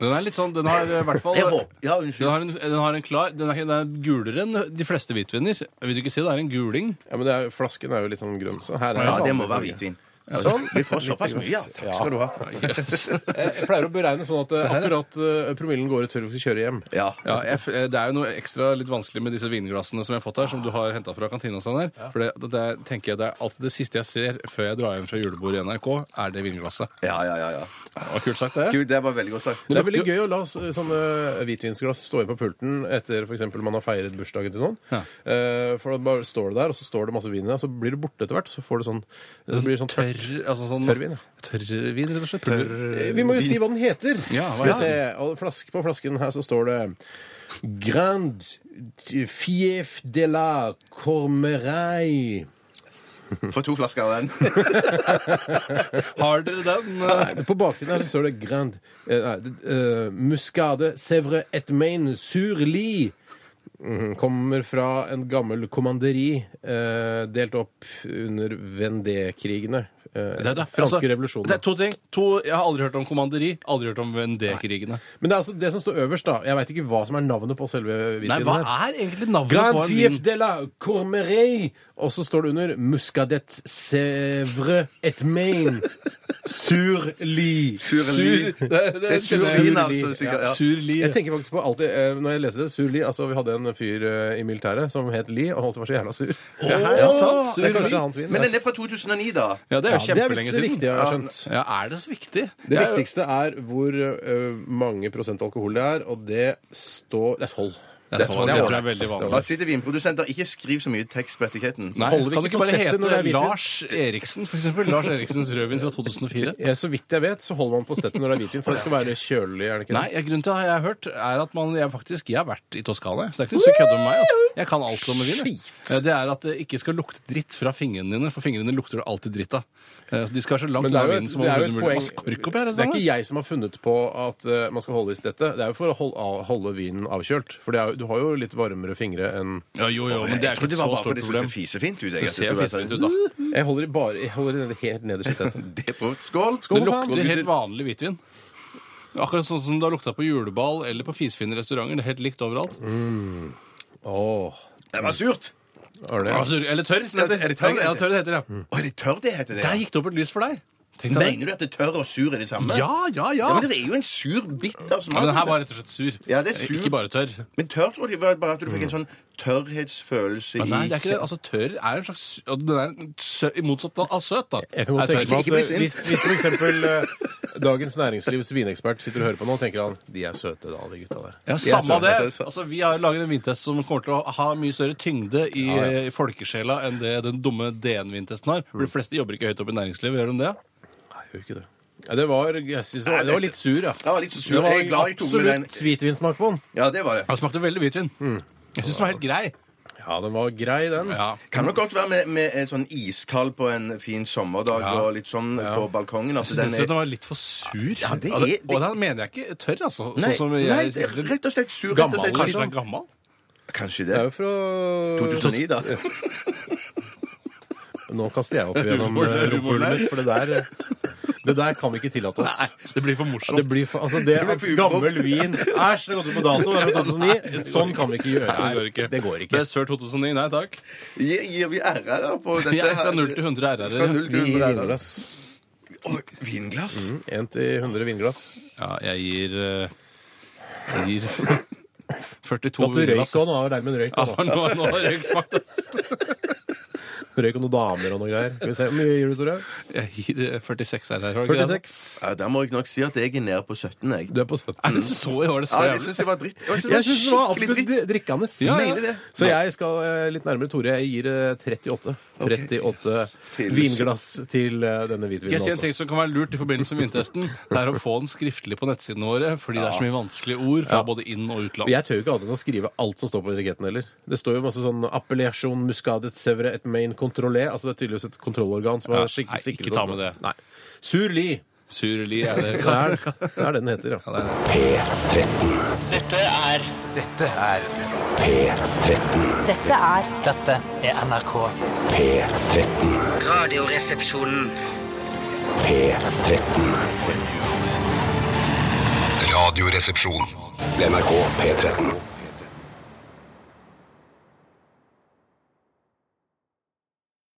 Speaker 1: Den er litt sånn, den har i hvert fall
Speaker 5: Jeg håper-
Speaker 1: den, har en, den har en klar Den er, ikke- den er gulere enn de fleste hvitviner. Vil du ikke si det er en guling?
Speaker 2: Ja, men det er, Flasken er jo litt sånn grønn. Så her er
Speaker 1: Ja, det må
Speaker 2: vanlig
Speaker 1: være
Speaker 2: farge.
Speaker 1: hvitvin. Sånn. Vi får såpass mye, ja. Takk skal du ha.
Speaker 2: Yes. Jeg jeg pleier å beregne sånn at eh,
Speaker 1: Se her, ja.
Speaker 2: akkurat eh, promillen går ut før vi skal kjøre hjem.
Speaker 1: Ja, jeg, f- eh, det er jo noe ekstra litt vanskelig med disse vinglassene som jeg har fått her, som du har henta fra kantina. og Sånn her. For det, det, er- tenker jeg det er alltid det siste jeg ser før jeg drar hjem fra julebordet i NRK, er det vinglasset.
Speaker 5: Ja, ja, ja,
Speaker 1: Det var kult sagt, det.
Speaker 5: Gud, det var veldig godt sagt.
Speaker 2: Det er veldig gøy å la s- sånne hvitvinsglass stå igjen på pulten etter f.eks. man har feiret bursdagen til noen. Eh, For da bare står det der, og så står det masse vin i det, og så blir det borte etter hvert. og Så får du sånn, så blir det sånn tørt.
Speaker 1: Tørr, altså sånn,
Speaker 2: Tørrvin,
Speaker 1: Tørrvin, rett og slett.
Speaker 2: Eh, Vi må jo si hva den heter.
Speaker 1: Ja,
Speaker 2: Skal
Speaker 1: hva
Speaker 2: vi
Speaker 1: er
Speaker 2: se.
Speaker 1: den?
Speaker 2: Og flaske på flasken her så står det Grand Fief de la Cormeray.
Speaker 5: Få to flasker
Speaker 2: <laughs>
Speaker 5: av den.
Speaker 1: Har dere den?
Speaker 2: Nei, på baksiden her så står det Grand eh, nei, eh, Muscade Sevre et main sur li. Mhm, Kommer fra en gammel kommanderi eh, delt opp under Vendée-krigene. Eh,
Speaker 1: Det er det.
Speaker 2: Franske
Speaker 1: Altså,
Speaker 2: revolusjonen.
Speaker 1: Det er to ting. To, jeg har aldri hørt om kommanderi, aldri hørt om Vendée-krigene.
Speaker 2: Men det er altså det som står øverst, da. Jeg veit ikke hva som er navnet på selve
Speaker 1: Nei,
Speaker 2: videoen
Speaker 1: hva
Speaker 2: her.
Speaker 1: er egentlig navnet
Speaker 2: Grand
Speaker 1: på en
Speaker 2: Fief
Speaker 1: vin?
Speaker 2: de la Cormeray. Og så står det under Muscadet Sevre et main sur li.
Speaker 5: Surli.
Speaker 2: Sur-
Speaker 5: Det er surlin, altså,
Speaker 2: Surli,
Speaker 5: sikkert, ja.
Speaker 2: Surli. Jeg tenker faktisk på alltid eh, Når jeg leste det, sur li Altså, vi hadde en fyr eh, i militæret som het Li, og han alltid var så jævla sur.
Speaker 5: Ja,
Speaker 2: Ja,
Speaker 5: ja,
Speaker 1: altså.
Speaker 5: sant.
Speaker 2: Det er kanskje hans vin.
Speaker 5: Men
Speaker 2: ja.
Speaker 5: den er fra 2009, da.
Speaker 1: Ja,
Speaker 2: Ja, det
Speaker 1: det er jo
Speaker 2: er
Speaker 1: kjempelenge
Speaker 2: visst det
Speaker 1: siden.
Speaker 2: viktige, jeg har skjønt.
Speaker 1: Ja, er det så viktig?
Speaker 2: Det
Speaker 1: Jeg-
Speaker 2: viktigste er hvor ø, mange prosent alkohol det er, og det står Det er tolv.
Speaker 1: Det er tolv, det tror jeg er veldig vanlig.
Speaker 5: Hva sitter vinprodusenter? Ikke skriv så mye tekst på etiketten.
Speaker 1: Nei,
Speaker 2: Holder vi
Speaker 1: kan
Speaker 2: ikke
Speaker 1: det ikke
Speaker 2: på
Speaker 1: bare
Speaker 2: stettet når det er
Speaker 1: hete
Speaker 2: hvitvin?
Speaker 1: Lars Eriksen, for eksempel? Lars Eriksens rødvin fra 2004?
Speaker 2: <laughs> Ja, så vidt jeg vet, så holder man på stettet når det er hvitvin, for det skal være kjølig. er det ikke det?
Speaker 1: Nei, jeg, grunnen til at jeg har hørt, er at man, jeg faktisk jeg har vært i Toskana. Så det er ikke noe så kødde med meg. Altså. Jeg kan alt om vin. jeg. Eh, Det er at det ikke skal lukte dritt fra fingrene dine, for fingrene lukter det alltid dritt av. Eh, De skal være så langt
Speaker 2: Men det er
Speaker 1: unna
Speaker 2: jo
Speaker 1: vinen
Speaker 2: et,
Speaker 1: som
Speaker 2: det er jo
Speaker 1: overhodet
Speaker 2: et
Speaker 1: mulig.
Speaker 2: poeng
Speaker 1: Masse kork oppi her, er det
Speaker 2: Det er
Speaker 1: sånn,
Speaker 2: ikke
Speaker 1: da?
Speaker 2: jeg som har funnet på at ø, man skal holde i stettet. Det er jo for å holde, holde vinen avkjølt. For det er, jo- du har jo litt varmere fingre enn
Speaker 1: Ja, jo, jo, men det er ikke et så stort problem.
Speaker 5: fisefint ut.
Speaker 1: Det ser fisefint ut, da.
Speaker 2: Jeg holder i bare jeg holder i det helt
Speaker 5: <laughs>
Speaker 2: nederst i stettet.
Speaker 5: det på skål.
Speaker 1: Det lukter helt vanlig hvitvin. Akkurat sånn som det har lukta på juleball eller på fisefine restauranter. Det er helt likt overalt.
Speaker 2: Mm. Åh.
Speaker 5: Det var surt.
Speaker 2: Var det?
Speaker 1: Altså, eller tørr, som det heter.
Speaker 5: Er det tørr?
Speaker 1: Ja, tørr Mm. det heter, ja.
Speaker 5: Å, er det tørr det heter? det?
Speaker 1: Der gikk det opp et lys for deg. Tenk deg det.
Speaker 5: Mener du at det tørr og sur er det samme?
Speaker 1: Ja, ja, ja.
Speaker 5: men det er jo en sur, bitter smak.
Speaker 1: Ja, den her var rett og slett sur.
Speaker 5: Ja, det er sur.
Speaker 1: Ikke bare tørr.
Speaker 5: Men tørr tror jeg var bare at du
Speaker 1: Mm.
Speaker 5: fikk en sånn tørrhetsfølelse
Speaker 1: Men nei, det er ikke det.
Speaker 5: i
Speaker 1: Altså, tørr er en slags og Den er en sø, i motsatt av av søt, da.
Speaker 2: Jeg kan godt
Speaker 1: Er
Speaker 2: tenke
Speaker 1: tørr.
Speaker 2: meg at eh, hvis, hvis for eksempel eh, Dagens Næringslivs vinekspert sitter og hører på nå, tenker han de er søte, da, de gutta der.
Speaker 1: ja, Samme det! Altså, Vi har laget en vintest som kommer til å ha mye større tyngde i,
Speaker 2: Ja, ja.
Speaker 1: i folkesjela enn det den dumme DN-vintesten har. For De fleste jobber ikke høyt opp i næringslivet, gjør de det?
Speaker 2: Nei, gjør ikke det. Ja, det var, jeg synes, det var- det var litt sur, ja.
Speaker 5: Det var litt så sur.
Speaker 2: Det var
Speaker 5: Jeg er glad jeg tok med den.
Speaker 2: absolutt hvitvinsmak på den.
Speaker 5: Ja, det var det.
Speaker 1: Den smakte veldig hvitvin. Jeg syns den var helt grei.
Speaker 2: Ja, den var grei, den.
Speaker 5: Kan nok godt være med, med en sånn iskald på en fin sommerdag
Speaker 1: Ja.
Speaker 5: og litt sånn på balkongen.
Speaker 1: Jeg
Speaker 5: Altså, den
Speaker 1: syns den,
Speaker 5: er...
Speaker 1: var litt for sur.
Speaker 5: Ja, det er-
Speaker 1: Og
Speaker 5: det-
Speaker 1: Og da mener jeg ikke tørr, altså.
Speaker 5: Nei,
Speaker 1: sånn som jeg,
Speaker 5: nei, det er rett og slett sur. rett og
Speaker 1: Gammel,
Speaker 5: slett
Speaker 1: kanskje
Speaker 5: sur.
Speaker 1: den er gammel?
Speaker 5: Kanskje
Speaker 2: Det
Speaker 5: det.
Speaker 2: er jo fra
Speaker 5: 2009, da.
Speaker 2: Nå kaster
Speaker 5: <laughs>
Speaker 2: jeg opp gjennom
Speaker 5: Humoren-
Speaker 2: eh,
Speaker 5: humoren
Speaker 2: rumpehullet
Speaker 5: her.
Speaker 2: mitt, for det
Speaker 5: <laughs>
Speaker 2: der det der kan vi ikke tillate oss.
Speaker 1: det blir for morsomt.
Speaker 2: Det blir for, altså, det
Speaker 1: Det
Speaker 2: at
Speaker 1: blir for
Speaker 2: gammel
Speaker 1: uproft.
Speaker 2: vin Æsj, det har gått ut på dato. Det er fra 2009. Sånn kan vi ikke gjøre.
Speaker 1: Nei, det går ikke.
Speaker 2: Det går ikke.
Speaker 1: Best før 2009, nei takk.
Speaker 5: Gir, gir vi RR da på dette?
Speaker 1: Jeg er fra
Speaker 5: her?
Speaker 1: 0 til 100 RR.
Speaker 5: Fra 0 til
Speaker 2: Vi gir
Speaker 5: 100 RR.
Speaker 2: vinglass.
Speaker 5: Vinglass?
Speaker 2: Mm, Én til 100 vinglass.
Speaker 1: Ja, jeg gir eh, Jeg
Speaker 5: <laughs>
Speaker 1: gir 42
Speaker 2: Måtte
Speaker 1: vinglass.
Speaker 2: røyk og noe der med en røyk.
Speaker 1: Ja,
Speaker 2: også.
Speaker 1: nå, nå har røyk smakt, ass.
Speaker 2: Røyk og noen damer og noe greier. Skal vi se, Hvor mye gir du, Tore?
Speaker 1: Jeg gir eh, 46 RR. har du ikke det?
Speaker 2: 46.
Speaker 5: Ja, da må jeg nok si at jeg er nede på 17, jeg. Mm.
Speaker 2: Du er på 17.
Speaker 1: Er det så så i år? Det så
Speaker 5: Ja, jeg
Speaker 1: jævlig.
Speaker 5: syns det var dritt. Jeg synes det var
Speaker 2: Jeg syns det var
Speaker 5: skikkelig
Speaker 2: absolutt
Speaker 5: dritt.
Speaker 2: drikkende.
Speaker 1: Ja, ja.
Speaker 5: Mener det.
Speaker 2: Så jeg skal eh, litt nærmere Tore. Jeg gir eh, 38. 38 vinglass til eh, denne
Speaker 1: Skal
Speaker 2: hvitvinen
Speaker 1: jeg si en
Speaker 2: også.
Speaker 1: ting som kan være lurt i forbindelse med vintesten? Det er å få den skriftlig på nettsidene våre, fordi det er så mye vanskelige ord fra
Speaker 2: Ja.
Speaker 1: både inn- og utland.
Speaker 2: Men Jeg tør jo ikke annet enn å skrive alt som står på etiketten heller. Det står jo masse sånn appellasjon, muscadet, sevre, et main controlé. Altså det er tydeligvis et kontrollorgan som
Speaker 1: Ja,
Speaker 2: har skikkelig
Speaker 1: nei,
Speaker 2: sikret
Speaker 1: ikke ta med det.
Speaker 2: Nei. Sur li.
Speaker 1: Surli er det
Speaker 2: Det er,
Speaker 1: <laughs>
Speaker 2: det er det den heter, ja.
Speaker 22: Dette er Dette er
Speaker 7: P13.
Speaker 22: Dette er Dette er NRK.
Speaker 7: P13.
Speaker 22: Radioresepsjonen.
Speaker 7: P13. Radioresepsjon. NRK P13.